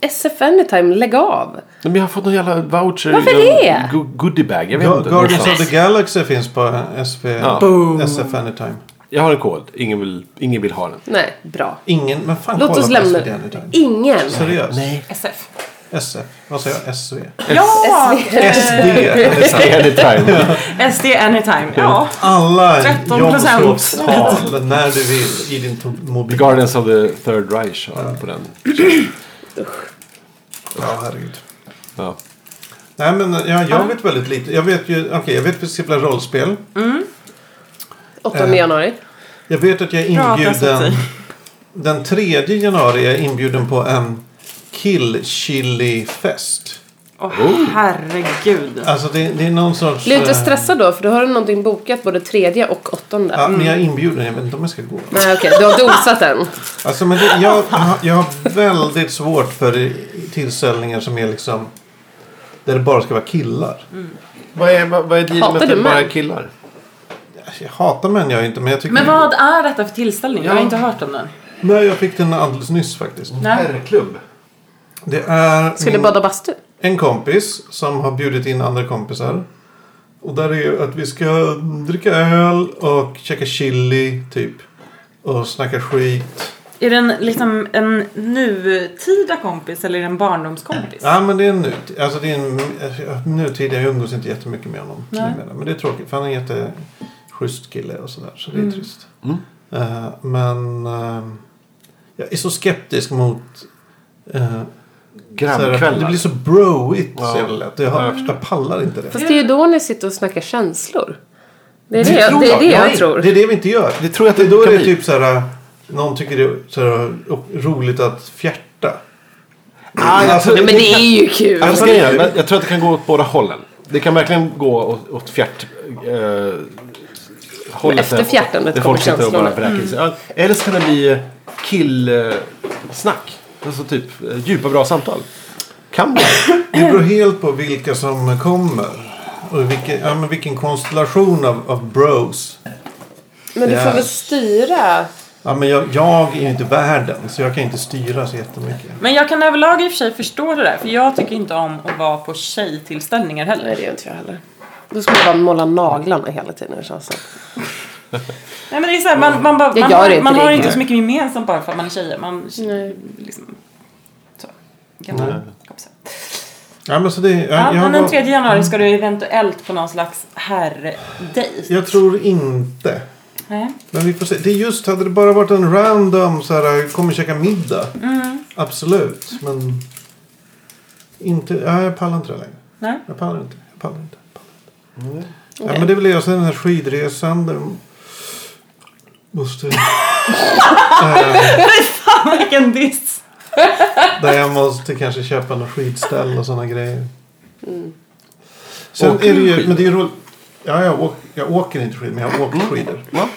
Speaker 4: SF Anytime, lägg av.
Speaker 3: Men jag har fått någon jävla voucher.
Speaker 4: Varför
Speaker 3: i någon
Speaker 4: det?
Speaker 3: go- Goodiebag. Jag vet
Speaker 2: Ga-
Speaker 3: inte.
Speaker 2: Guardians of
Speaker 3: någonstans.
Speaker 2: the Galaxy finns på SV,
Speaker 3: Ja.
Speaker 2: SF Anytime.
Speaker 3: Jag har en kod. Ingen vill, ingen vill ha den.
Speaker 4: Nej, bra.
Speaker 2: Ingen, men fan
Speaker 4: Låt
Speaker 2: kolla
Speaker 4: oss
Speaker 2: på
Speaker 4: lämna.
Speaker 2: SVT Anytime.
Speaker 4: Ingen.
Speaker 2: Seriöst? Nej.
Speaker 1: SF.
Speaker 2: SF. Vad sa jag? SV?
Speaker 1: Ja!
Speaker 4: Eh.
Speaker 2: SD.
Speaker 3: Det är Anytime.
Speaker 1: SD anytime. Ja.
Speaker 2: Alla
Speaker 1: 13%.
Speaker 2: jobbsrådstal när du vill i din to- mobil.
Speaker 3: Guardians of the Third Reich har på den.
Speaker 2: Ja, herregud.
Speaker 3: Ja.
Speaker 2: Nej, men ja, jag vet väldigt lite. Jag vet ju, okej, jag vet att vi ska spela rollspel.
Speaker 4: 8 januari.
Speaker 2: Jag vet att jag är
Speaker 1: Prata,
Speaker 2: inbjuden.
Speaker 1: Sophie.
Speaker 2: Den 3 januari är jag inbjuden på en kill chili fest.
Speaker 1: Åh herregud.
Speaker 2: Alltså det, det är någon sorts...
Speaker 4: Blir du inte
Speaker 2: eh,
Speaker 4: stressad då? För då har du någonting bokat både tredje och åttonde.
Speaker 2: Ja, men jag är inbjuden. Jag vet inte om jag ska gå.
Speaker 4: Nej, okej. Du har dosat den.
Speaker 2: Alltså, men det, jag, jag, har- jag har väldigt svårt för tillställningar som är liksom... Där det bara ska vara killar.
Speaker 3: Vad är, vad, vad är dealen
Speaker 4: Hatar
Speaker 3: med att
Speaker 4: du
Speaker 3: det bara
Speaker 4: män?
Speaker 3: är killar?
Speaker 2: Alltså, Jag hatar män jag inte, men jag tycker...
Speaker 1: Men vad är detta för tillställning? Jag har inte hört om den.
Speaker 2: Nej, jag fick den alldeles nyss faktiskt.
Speaker 1: Nej.
Speaker 3: Herrklubb.
Speaker 2: Det är
Speaker 4: Skulle
Speaker 2: min,
Speaker 4: bada bastu.
Speaker 2: en kompis som har bjudit in andra kompisar. Och där är ju att vi ska dricka öl och käka chili, typ. Och snacka skit.
Speaker 1: Är den liksom en nutida kompis eller är det en barndomskompis?
Speaker 2: Ja, men det är en nut. Alltså det är en eh, nutid. Jag umgås inte jättemycket med honom.
Speaker 1: Nej.
Speaker 2: numera. Men det är tråkigt. För han är en jätteschysst kille och sådär. Så det är
Speaker 4: Mm.
Speaker 2: trist.
Speaker 3: Mm.
Speaker 2: Eh, men eh, jag är så skeptisk mot... Uh,
Speaker 3: Grabbkvällar.
Speaker 2: det blir så broigt
Speaker 3: Ja.
Speaker 2: så jävla lätt. Jag, har, jag pallar inte det.
Speaker 4: Fast det är ju då ni sitter och snackar känslor. Det är det,
Speaker 3: tror
Speaker 4: jag, det, är
Speaker 3: jag.
Speaker 4: det jag
Speaker 3: Nej,
Speaker 4: tror.
Speaker 2: Det är det vi inte gör.
Speaker 3: Det tror jag att
Speaker 2: det,
Speaker 3: det
Speaker 2: då är
Speaker 3: kan
Speaker 2: det
Speaker 3: bli.
Speaker 2: typ så här. Någon tycker det är så här, roligt att fjärta. Alltså,
Speaker 3: Ah, jag, tror,
Speaker 4: Nej, men det är ju kul.
Speaker 3: alltså, grejen är, jag tror att det kan gå åt båda hållen. Det kan verkligen gå åt, åt fjärt... Eh, hållet
Speaker 4: efter
Speaker 3: där-
Speaker 4: fjärtandet
Speaker 3: där
Speaker 4: kommer
Speaker 3: folk sitter och bara
Speaker 4: känslorna. Mm.
Speaker 3: vräker sig. Ja, Eller så kan det bli eh, killsnack. Alltså typ eh, djupa bra samtal. Kan bli.
Speaker 2: Det beror helt på vilka som kommer. Och vilken, ja, men vilken konstellation av, av bros.
Speaker 4: Men du får
Speaker 2: Ja.
Speaker 4: väl styra.
Speaker 2: Ja, men jag, jag är ju inte världen så jag kan inte styra så jättemycket.
Speaker 1: Men jag kan överlag i och för sig förstå det där. För jag tycker inte om att vara på tjejtillställningar heller.
Speaker 4: Nej, det gör inte jag heller. Då skulle jag bara målla naglarna hela tiden känns det som.
Speaker 1: Nej men det är såhär, man, man, bara,
Speaker 4: Jag
Speaker 1: man,
Speaker 4: gör
Speaker 1: har,
Speaker 4: inte
Speaker 1: man
Speaker 4: det.
Speaker 1: har inte så mycket gemensamt bara för att man är tjejer. Man liksom... Så. Gamla kompisar.
Speaker 2: Ja, men så det, jag,
Speaker 1: Ja,
Speaker 2: jag,
Speaker 1: men den
Speaker 2: var-
Speaker 1: 3 januari ska du eventuellt på någon slags herrdejt.
Speaker 2: jag tror inte.
Speaker 1: Nej.
Speaker 2: Men vi får se. Det är just, hade det bara varit en random så här, kommer käka middag.
Speaker 1: Mm.
Speaker 2: Absolut, men inte, ja, jag pallar inte det längre.
Speaker 1: Nej.
Speaker 2: Jag pallar inte, jag pallar inte. Jag pallar inte. Ja, men det är väl det. Och sen den här skidresan. Där måste...
Speaker 1: Vilken diss.
Speaker 2: Där jag måste kanske köpa något skidställ och sådana grejer.
Speaker 1: Mm.
Speaker 2: Sen är
Speaker 3: Åker
Speaker 2: det ju,
Speaker 3: du skidor? Mm.
Speaker 2: men det är ju roligt. Ja, jag, åk, jag åker inte skidor, men jag har åkt skidor.
Speaker 3: Va?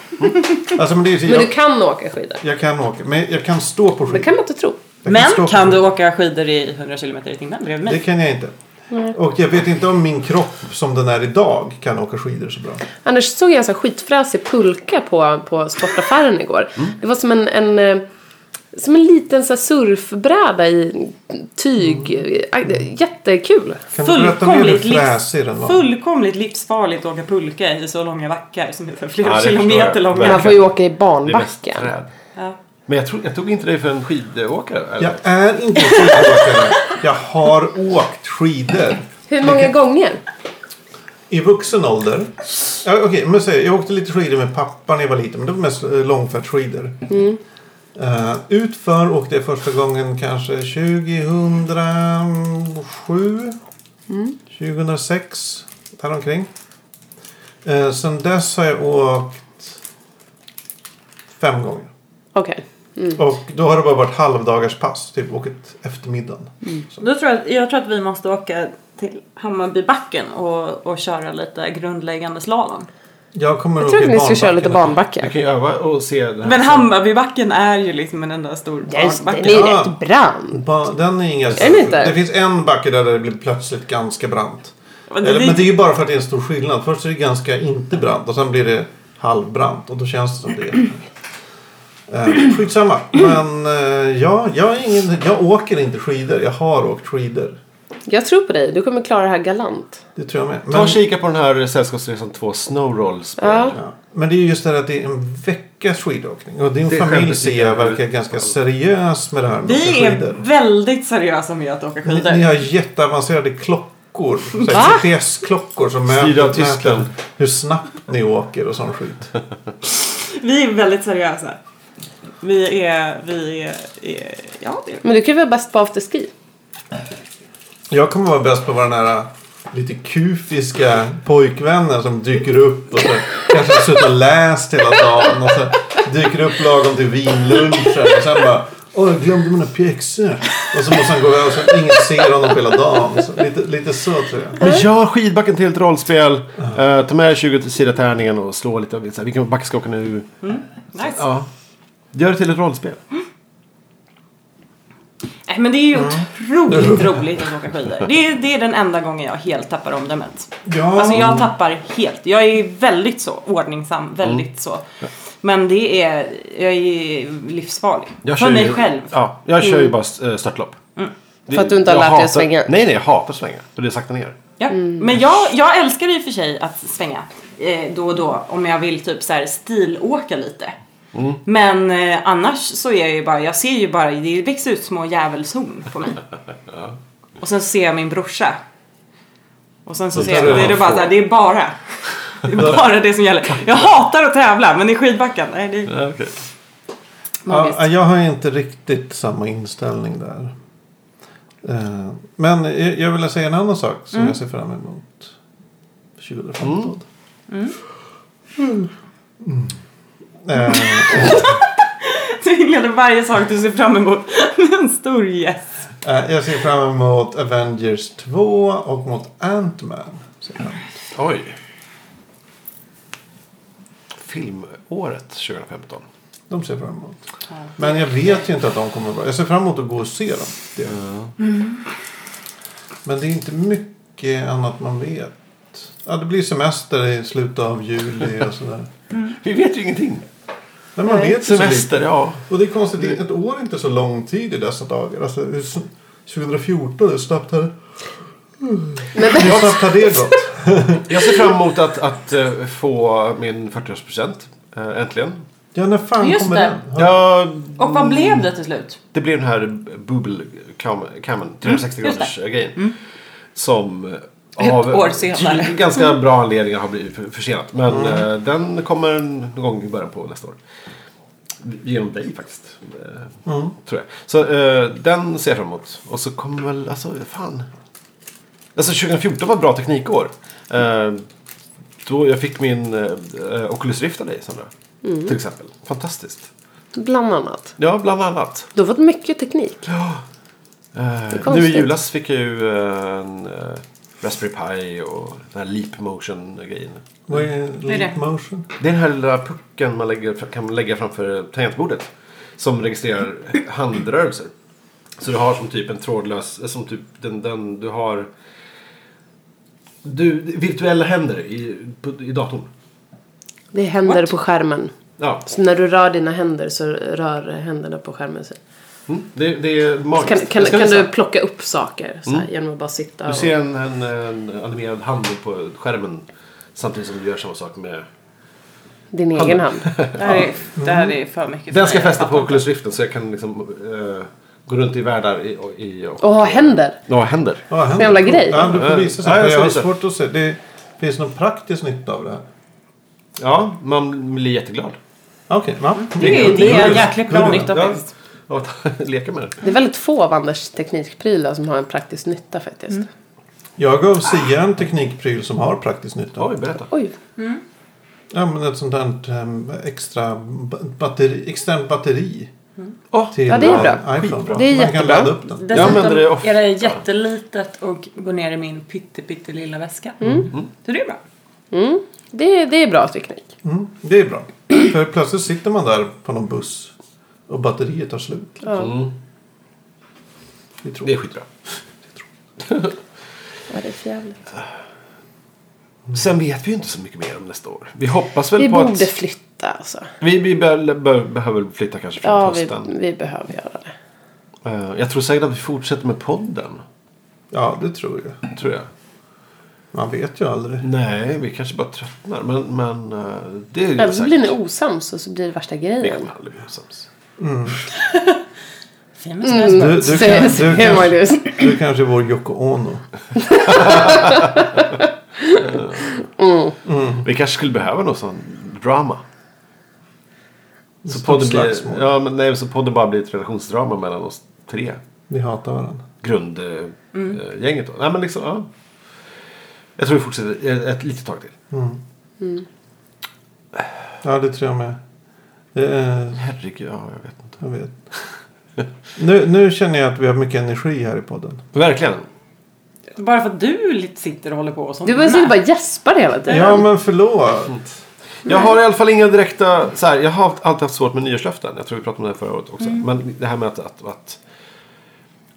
Speaker 2: Alltså, men det är, ju-
Speaker 4: Men du
Speaker 2: jag,
Speaker 4: kan åka skidor.
Speaker 2: jag kan åka, men jag kan stå på skidor.
Speaker 4: Det kan man inte tro.
Speaker 2: Jag stå
Speaker 1: Men
Speaker 2: på
Speaker 1: kan
Speaker 2: skidor.
Speaker 1: du åka skidor i 100 km i timmen bredvid
Speaker 2: Det
Speaker 1: mig?
Speaker 2: kan jag inte. Och jag vet inte om min kropp som den är idag kan åka skidor så bra.
Speaker 4: Annars såg jag en sån här skitfräsig pulka på, på sportaffären igår. Det var som en, en eh, som en liten så här surfbräda i tyg. Aj, det- Jättekul.
Speaker 2: Kan du berätta mer hur
Speaker 1: Fullkomligt livs-
Speaker 2: fräsig den var?
Speaker 1: Fullkomligt livsfarligt att åka pulka i så långa backar som är flera
Speaker 3: Ja, det
Speaker 1: kilometer
Speaker 3: förstår jag.
Speaker 1: långa.
Speaker 4: Man får ju åka i
Speaker 3: Det är mest
Speaker 4: barnbacken.
Speaker 3: träd.
Speaker 1: Ja.
Speaker 3: Men jag, tror, jag tog inte dig för en skidåkare. Eller?
Speaker 2: Jag är inte skidåkare. Jag har åkt skidor.
Speaker 4: Hur många gånger?
Speaker 2: I vuxen ålder. Ja, Okej, men säg, jag åkte lite skidor med pappa när jag var liten. Men det var mest eh, långfärdsskidor.
Speaker 4: Mm.
Speaker 2: Eh, utför åkte jag första gången kanske 2007.
Speaker 4: Mm.
Speaker 2: 2006. Däromkring. Uh, sen dess har jag åkt fem gånger.
Speaker 4: Okej. Mm.
Speaker 2: Och då har det bara varit halvdagars pass. Typ åkt eftermiddagen.
Speaker 4: Mm.
Speaker 1: Då tror jag, jag tror att vi måste åka till Hammarbybacken och, och köra lite grundläggande slalom.
Speaker 2: Jag kommer
Speaker 4: Jag
Speaker 2: att
Speaker 4: trodde
Speaker 2: åka i
Speaker 4: ni skulle köra lite
Speaker 2: barnbacken.
Speaker 4: barnbacke.
Speaker 3: Jag kan ju öva och se det här.
Speaker 1: Men Hammarbybacken är ju liksom en enda stor
Speaker 4: Just det,
Speaker 1: barnbacke.
Speaker 4: det är ju
Speaker 2: Ja.
Speaker 4: rätt brant.
Speaker 2: Ba- Den är inga
Speaker 4: den inte?
Speaker 2: Det finns en backe där det blir plötsligt ganska brant.
Speaker 1: Men det-
Speaker 2: Eller, men det är ju bara för att det är en stor skillnad. Först är det ganska inte brant och sen blir det halvbrant och då känns det som det. Eh, skitsamma. Men eh, ja, jag, är ingen, jag åker inte skidor. Jag har åkt skidor.
Speaker 4: Jag tror på dig. Du kommer klara det här galant.
Speaker 2: Det tror jag med.
Speaker 3: Ta
Speaker 2: Men,
Speaker 3: och kika på den här Sällskapsresan 2 Snowrolls.
Speaker 4: Ja.
Speaker 2: ja. men det är just det här att det är en veckas skidåkning. Och din
Speaker 3: Det är
Speaker 2: familj
Speaker 3: skämtet
Speaker 2: ser jag
Speaker 3: tycker jag.
Speaker 2: verkar ganska seriös med det här med att
Speaker 1: Vi
Speaker 2: åka
Speaker 1: är
Speaker 2: skidor.
Speaker 1: väldigt seriösa med att åka
Speaker 2: Ni,
Speaker 1: skidor.
Speaker 2: ni har jätteavancerade klockor. så
Speaker 4: Va?
Speaker 2: här GPS-klockor som
Speaker 3: Styrda av
Speaker 2: mäter,
Speaker 3: Tyskland.
Speaker 2: mäter hur snabbt ni åker och sån skit.
Speaker 1: Vi är väldigt seriösa. Vi är, vi är, är ja det är
Speaker 4: Men du kan ju vara bäst på afterski.
Speaker 2: Jag kommer vara bäst på att vara den här äh, lite kufiska pojkvännen som dyker upp och så kanske har suttit och läst hela dagen och så dyker upp lagom till vinlunchen och sen bara Åh, jag glömde mina pjäxor. Och så måste han gå iväg och så ingen ser honom på hela dagen. Så lite, lite så tror jag.
Speaker 3: Men gör skidbacken till ett rollspel. Eh, ta med dig 20 sida tärningen och slå lite. av- Så här, vilken backe ska jag åka nu?
Speaker 1: nice.
Speaker 3: Ja. Gör det till ett rollspel.
Speaker 1: Nej, Äh, men det är ju
Speaker 2: Mm.
Speaker 1: otroligt roligt att åka skidor. Det är, det är den enda gången jag helt tappar omdömet.
Speaker 2: Ja,
Speaker 1: Alltså jag tappar helt. Jag är väldigt så ordningsam, väldigt så. Men det är, jag är livsfarlig.
Speaker 3: Jag
Speaker 1: För
Speaker 3: kör
Speaker 1: mig
Speaker 3: ju-
Speaker 1: själv.
Speaker 3: Ja, jag kör ju bara eh, störtlopp. Det-
Speaker 4: Mm. För att du inte har
Speaker 3: jag
Speaker 4: lärt dig att
Speaker 3: hatar-
Speaker 4: svänga.
Speaker 3: Nej, nej, jag hatar att svänga. Och det är sakta ner.
Speaker 1: Ja. Men jag, jag älskar i och för sig att svänga eh, då och då om jag vill typ så här stilåka lite. Men eh, annars så är jag ju bara, jag ser ju bara, det växer ut små djävulshorn på mig. Och sen ser jag min brorsa. Och sen så
Speaker 2: Det
Speaker 1: ser jag,
Speaker 2: tror jag
Speaker 1: det är det
Speaker 2: man
Speaker 1: bara
Speaker 2: får.
Speaker 1: så här, det är bara. Det är bara det som gäller. Jag hatar att tävla men i skidbacken, nej det är
Speaker 3: Ja, okej.
Speaker 1: magiskt.
Speaker 2: Ja, jag har inte riktigt samma inställning där. Eh, Men jag- jag vill säga en annan sak som jag ser fram emot 2015. Mm. Eh,
Speaker 1: Du inleder varje sak du ser fram emot med en stor yes.
Speaker 2: eh, jag ser fram emot Avengers 2 och mot Ant-Man. ser jag fram emot.
Speaker 3: Oj. Filmåret 2015.
Speaker 2: De ser jag fram emot. Men jag vet ju inte att de kommer vara bra. Jag ser fram emot att gå och se dem. Det. Mm. Men det är inte mycket annat man vet. Ja, det blir semester i slutet av juli och sådär.
Speaker 3: Vi vet ju ingenting.
Speaker 2: Men man vet ju så lite.
Speaker 3: Semester, ja.
Speaker 2: Och det är konstigt, det är- ett år är inte så lång tid i dessa dagar. Alltså, hur s- 2014, hur snabbt har, hur snabbt har det gått?
Speaker 3: Jag ser fram emot att, att eh, få min 40-årspresent. eh, Äntligen.
Speaker 2: Ja, när fan
Speaker 1: Just
Speaker 2: kommer
Speaker 1: det.
Speaker 2: den? Har-
Speaker 3: Jag
Speaker 1: Och vad blev det till slut?
Speaker 3: Det blev den här bubbelkammen, 360
Speaker 1: Mm, just Mm.
Speaker 3: graders eh, grejen. Som
Speaker 1: Ett år senare. Mm.
Speaker 3: tydligen ganska bra anledningar har blivit för- försenat. Men eh, den kommer någon gång i början på nästa år. Genom dig faktiskt. eh,
Speaker 1: Mm.
Speaker 3: Tror jag. Så eh, den ser jag fram emot. Och så kommer väl, alltså fan. Alltså 2014 var ett bra teknikår. Eh,
Speaker 1: Mm.
Speaker 3: då jag fick min eh, Oculus Rift av dig Sandra. Till exempel. Fantastiskt.
Speaker 4: Bland annat.
Speaker 3: Ja, bland annat.
Speaker 4: Du har fått mycket teknik.
Speaker 3: Eh, nu i
Speaker 4: konstigt.
Speaker 3: julas fick jag ju eh, en eh, Raspberry Pi och den här Leap Motion-grejen.
Speaker 2: Vad är
Speaker 1: är det?
Speaker 2: leap motion?
Speaker 3: Det är den här lilla pucken man lägger, kan lägga framför tangentbordet. Som registrerar handrörelser. Så du har som typ en trådlös, eh, som typ den, den du har du, virtuella händer i, på, i datorn.
Speaker 4: Det händer på skärmen.
Speaker 3: Ja,
Speaker 4: Så när du rör dina händer så rör händerna på skärmen sig.
Speaker 3: mm, det, det är
Speaker 4: Så Kan,
Speaker 3: magiskt.
Speaker 4: kan,
Speaker 3: Jag ska
Speaker 4: kan du
Speaker 3: visa.
Speaker 4: plocka upp saker så här, genom att bara sitta
Speaker 3: Du
Speaker 4: och...
Speaker 3: ser en, en, en animerad hand på skärmen samtidigt som du gör samma sak med...
Speaker 4: Din egen hand.
Speaker 1: Det här är, det här är för mycket för
Speaker 3: Den ska
Speaker 1: mig.
Speaker 3: jag fästa på Oculus Riften så jag kan liksom eh, gå runt i världar i, och- i, och...
Speaker 4: Och ha händer.
Speaker 3: Ja, händer.
Speaker 2: Ja, han-
Speaker 4: Jävla grej.
Speaker 2: Ja, du får visa.
Speaker 3: Ja,
Speaker 2: Ja,
Speaker 3: jag ska
Speaker 2: jag har
Speaker 3: visa.
Speaker 2: svårt att se. Det finns någon praktisk nytta av det här.
Speaker 3: Ja, man blir jätteglad.
Speaker 2: Okej, ja.
Speaker 1: Det är, det är en jäkligt bra
Speaker 3: Hundra.
Speaker 1: nytta
Speaker 3: Ja.
Speaker 1: faktiskt.
Speaker 3: Och att leka med det.
Speaker 4: Det är väldigt få av Anders teknikprylar som har en praktisk nytta faktiskt.
Speaker 2: Jag gav Sia en teknikpryl som har praktisk nytta.
Speaker 3: Oj, berätta.
Speaker 4: Oj.
Speaker 2: Ja, men ett sånt där ehm, extra ba- batteri, externt batteri.
Speaker 3: Åh,
Speaker 2: till
Speaker 4: ja, det är bra.
Speaker 2: eh, iPhone.
Speaker 4: Det är
Speaker 2: Man kan
Speaker 4: jättebra.
Speaker 2: ladda upp den.
Speaker 3: Jag
Speaker 1: Dessutom
Speaker 3: använder det ofta.
Speaker 1: är det jättelitet och går ner i min pytte, pytte lilla väska.
Speaker 3: Mm.
Speaker 1: Mm. Så det är bra.
Speaker 4: Det, det är bra teknik.
Speaker 2: Mm, det är bra. För plötsligt sitter man där på någon buss och batteriet tar slut. liksom.
Speaker 3: Mm,
Speaker 2: Det tror
Speaker 3: det är
Speaker 2: jag.
Speaker 3: skitbra.
Speaker 4: Ja, det är för jävligt.
Speaker 3: Sen vet vi ju inte så mycket mer om nästa år. Vi hoppas väl
Speaker 4: Vi
Speaker 3: på
Speaker 4: borde
Speaker 3: att...
Speaker 4: flytta alltså.
Speaker 3: Vi, vi be, be, behöver flytta kanske från
Speaker 4: Ja, vi,
Speaker 3: hösten.
Speaker 4: vi behöver göra det.
Speaker 3: Eh, jag tror säkert att vi fortsätter med podden.
Speaker 2: Ja, det tror jag.
Speaker 3: Tror jag.
Speaker 2: Man vet ju aldrig.
Speaker 3: Nej, vi kanske bara tröttnar. Men, men eh, det är ju
Speaker 4: Eller så
Speaker 3: säkert.
Speaker 4: blir ni osams och så blir det värsta
Speaker 3: Vi
Speaker 4: grejen.
Speaker 3: kommer aldrig bli osams.
Speaker 1: Fin med
Speaker 4: Mm.
Speaker 1: snö.
Speaker 2: Du, du,
Speaker 4: Säger-
Speaker 2: kan,
Speaker 4: säger
Speaker 2: du, kanske,
Speaker 4: Magnus.
Speaker 2: du kanske är vår Yoko Ono.
Speaker 3: Vi kanske skulle behöva någon sån drama. Så
Speaker 2: Stort
Speaker 3: podden, blir,
Speaker 2: slagsmål.
Speaker 3: ja, men nej, så podden bara blir ett relationsdrama mellan oss tre.
Speaker 2: Vi hatar varandra.
Speaker 3: Grundgänget mm. gänget då. Nej, men liksom, ja. Jag tror vi fortsätter ett, ett litet tag till.
Speaker 2: Ja, det tror jag med. Det är,
Speaker 3: Herregud, ja, jag vet inte.
Speaker 2: jag vet. Nu, nu känner jag att vi har mycket energi här i podden.
Speaker 3: Verkligen.
Speaker 1: Bara för att du lite sitter och håller på som
Speaker 4: Du bara sitter bara och gäspar hela tiden.
Speaker 2: Ja, men förlåt.
Speaker 3: Jag har i alla fall inga direkta... Så här, jag har alltid haft svårt med nyårslöften. Jag tror vi pratade om det här förra året också. Men det här med att... att, att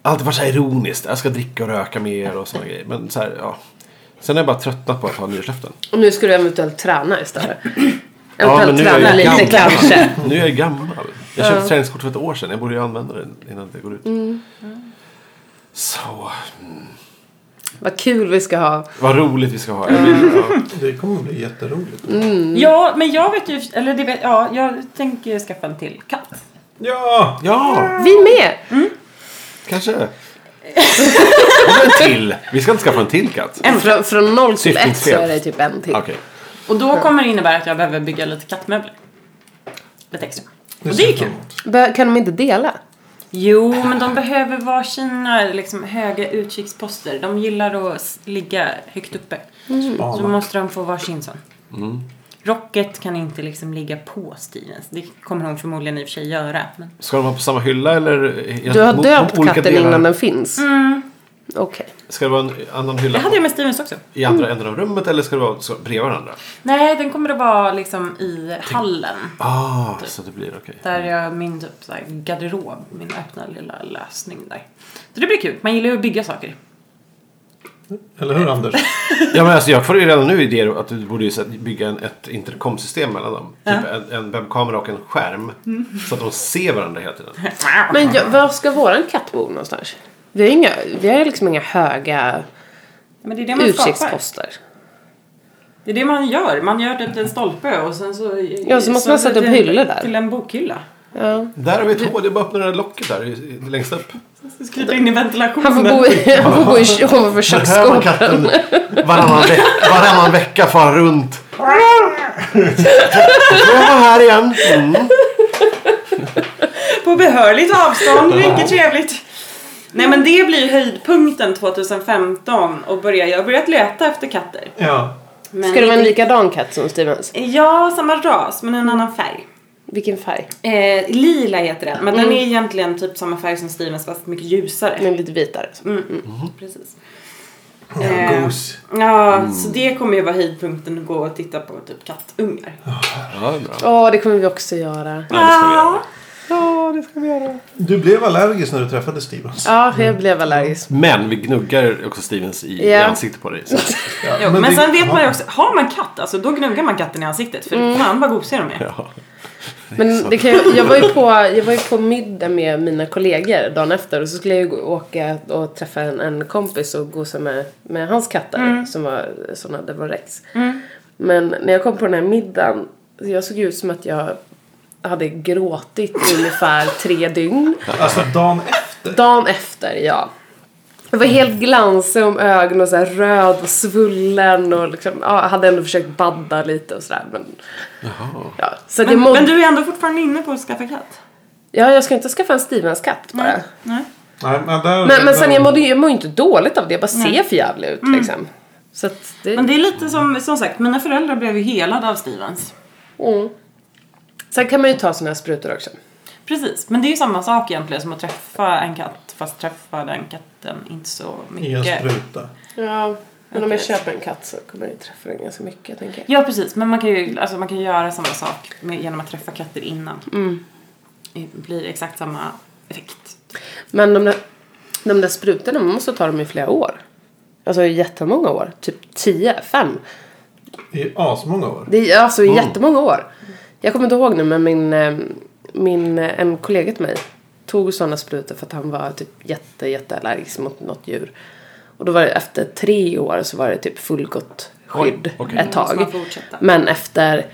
Speaker 3: alltid varit så här ironiskt. Jag ska dricka och röka mer och sådana grejer. Men så här, ja. Sen har jag bara tröttnat på att ha nyårslöften.
Speaker 4: Och nu ska du eventuellt träna istället.
Speaker 3: Ja, men
Speaker 4: Eventuellt
Speaker 3: nu är
Speaker 4: träna
Speaker 3: jag
Speaker 4: lite
Speaker 3: gammal.
Speaker 4: kanske.
Speaker 3: Nu är jag gammal. Jag köpte träningskort för ett år sedan. Jag borde ju använda det innan det går ut. Så,
Speaker 4: Vad kul vi ska ha.
Speaker 3: vad roligt vi ska ha. Jag vill, ja.
Speaker 2: Det kommer bli jätteroligt.
Speaker 1: Ja, men jag vet ju... Eller det vet, ja, jag tänker ju skaffa en till katt.
Speaker 2: Ja!
Speaker 3: ja,
Speaker 4: Vi med!
Speaker 3: kanske. Och en till. Vi ska inte skaffa en till katt.
Speaker 4: En från, från 0 till
Speaker 3: Syftningsfel.
Speaker 4: 1 så är det typ en till.
Speaker 3: Okej.
Speaker 1: Och då kommer det innebära att jag behöver bygga lite kattmöbler. Lite extra. Och det är kul.
Speaker 4: Bör- Kan de inte dela?
Speaker 1: Jo, men de behöver vara sina liksom, höga utkiksposter. De gillar att s- ligga högt uppe. Så
Speaker 2: Spana.
Speaker 1: måste de få varsin sån. Rocket kan inte liksom ligga på Stevens. Det kommer hon förmodligen i och för sig göra. Men...
Speaker 3: Ska de vara på samma hylla eller? i-
Speaker 4: Du har
Speaker 3: mot-
Speaker 4: döpt
Speaker 3: olika
Speaker 4: katten
Speaker 3: delar?
Speaker 4: innan den finns? Mm. Okej.
Speaker 3: Ska det vara en annan hylla
Speaker 1: Det hade jag med Stevens också.
Speaker 3: i andra änden av rummet eller ska det vara så, bredvid varandra?
Speaker 1: Nej, den kommer att vara liksom i hallen.
Speaker 3: Ah, så det blir okej.
Speaker 1: Där jag min typ så här, garderob, min öppna lilla lösning där. Så det blir kul. Man gillar ju att bygga saker.
Speaker 2: Eller hur, Anders?
Speaker 3: Ja, men alltså, jag får ju redan nu idéer om att du borde ju så här bygga en, ett intercomsystem mellan dem. Typ en, en webbkamera och en skärm. Så att de ser varandra hela tiden.
Speaker 4: Men jag, var ska våran katt bo någonstans? Vi har, inga, vi har liksom inga höga
Speaker 1: Men det är det man skapar.
Speaker 4: utsiktsposter.
Speaker 1: Det är det man gör. Man gör typ en stolpe och sen så...
Speaker 4: Ja, så måste man sätta upp
Speaker 1: till-
Speaker 4: hyllor där.
Speaker 1: Till en bokhylla.
Speaker 4: Ja.
Speaker 3: Där har vi ett hål. Det är bara att öppna det där locket där i- i- längst upp.
Speaker 1: Så Skriva in i ventilationen.
Speaker 4: Han får bo i, han får bo i ovanför
Speaker 3: Här har
Speaker 4: köksskåpet.
Speaker 3: katten varannan, veck, varannan vecka far runt. Jag var här igen. Mm.
Speaker 1: På behörligt avstånd, mycket trevligt. Nej men det blir höjdpunkten 2015 och börja, jag har börjat leta efter katter.
Speaker 2: Ja.
Speaker 1: Men
Speaker 4: Ska det vara en likadan katt som Stevens?
Speaker 1: Ja, samma ras men en annan färg.
Speaker 4: Vilken färg?
Speaker 1: Eh, lila heter den, men
Speaker 4: Mm.
Speaker 1: den är egentligen typ samma färg som Stevens fast mycket ljusare.
Speaker 4: Den är lite vitare. Så.
Speaker 1: Mm, mm, Precis.
Speaker 2: Ja,
Speaker 1: Eh,
Speaker 2: gos.
Speaker 1: Ja,
Speaker 3: Mm.
Speaker 1: så det kommer ju vara höjdpunkten att gå och titta på typ kattungar.
Speaker 3: Ja, det är bra.
Speaker 4: Åh, det kommer vi också göra.
Speaker 3: Ja, det ska vi göra.
Speaker 4: Ja, det ska vi göra.
Speaker 2: Du blev allergisk när du träffade Stevens.
Speaker 4: Ja, jag blev allergisk.
Speaker 3: Men vi gnuggar också Stevens i, i
Speaker 4: Ja.
Speaker 3: ansiktet på dig. Så.
Speaker 2: Ja,
Speaker 1: Jo, men,
Speaker 2: det-
Speaker 1: sen vet man ju
Speaker 2: ja.
Speaker 1: också, har man katt, alltså då gnuggar man katten i ansiktet. För
Speaker 4: Mm.
Speaker 1: fan vad gosiga de är.
Speaker 3: Ja.
Speaker 4: Men det kan ju, jag, var ju på, jag var ju på middag med mina kollegor dagen efter och så skulle jag ju gå- åka och träffa en, en kompis och gosa med, med hans katter
Speaker 1: Mm.
Speaker 4: som var sådana Devorex. Men när jag kom på den här middagen, jag såg ut som att jag hade gråtit i ungefär tre dygn.
Speaker 2: Alltså dagen efter.
Speaker 4: Dagen efter, ja. Jag var helt glansig om ögonen och så här röd och svullen och liksom, ja, jag hade ändå försökt badda lite och sådär men... Ja, så att jag
Speaker 1: Men,
Speaker 4: mådde...
Speaker 1: men du är ändå fortfarande inne på att skaffa katt?
Speaker 4: Ja, jag ska inte skaffa en Stevens-katt bara.
Speaker 1: Nej.
Speaker 2: Nej, men, där,
Speaker 4: Men, men sen
Speaker 2: där-
Speaker 4: jag mådde ju jag mår ju inte dåligt av det, jag bara ser för jävlig ut liksom. Så att det...
Speaker 1: Men det är lite som, som sagt, mina föräldrar blev ju helade av Stevens.
Speaker 4: Mm. Sen kan man ju ta såna här sprutor också.
Speaker 1: Precis, men det är ju samma sak egentligen som att träffa en katt fast träffa den katten inte så
Speaker 2: I en
Speaker 1: mycket.
Speaker 2: spruta.
Speaker 4: Ja, men om
Speaker 1: Okej.
Speaker 4: jag köper en katt så kommer jag ju träffa den ganska mycket tänker jag.
Speaker 1: Ja precis, men man kan ju alltså, man kan göra samma sak med, genom att träffa katter innan.
Speaker 4: Mm.
Speaker 1: Det blir exakt samma effekt.
Speaker 4: Men de där, de där sprutorna, man måste ta dem i flera år. Alltså i jättemånga år. Typ 10, 5.
Speaker 2: I asmånga år.
Speaker 4: Det är alltså i
Speaker 3: Mm.
Speaker 4: jättemånga år. Jag kommer inte ihåg nu men min, eh, min, eh, en kollega till mig tog sådana sprutor för att han var typ jätte, jätteallergisk mot något djur. Och då var det efter tre år så var det typ fullgott skydd
Speaker 3: Oj, okej.
Speaker 4: ett
Speaker 1: Då måste
Speaker 4: tag.
Speaker 1: Mm, man fortsätta.
Speaker 4: Men efter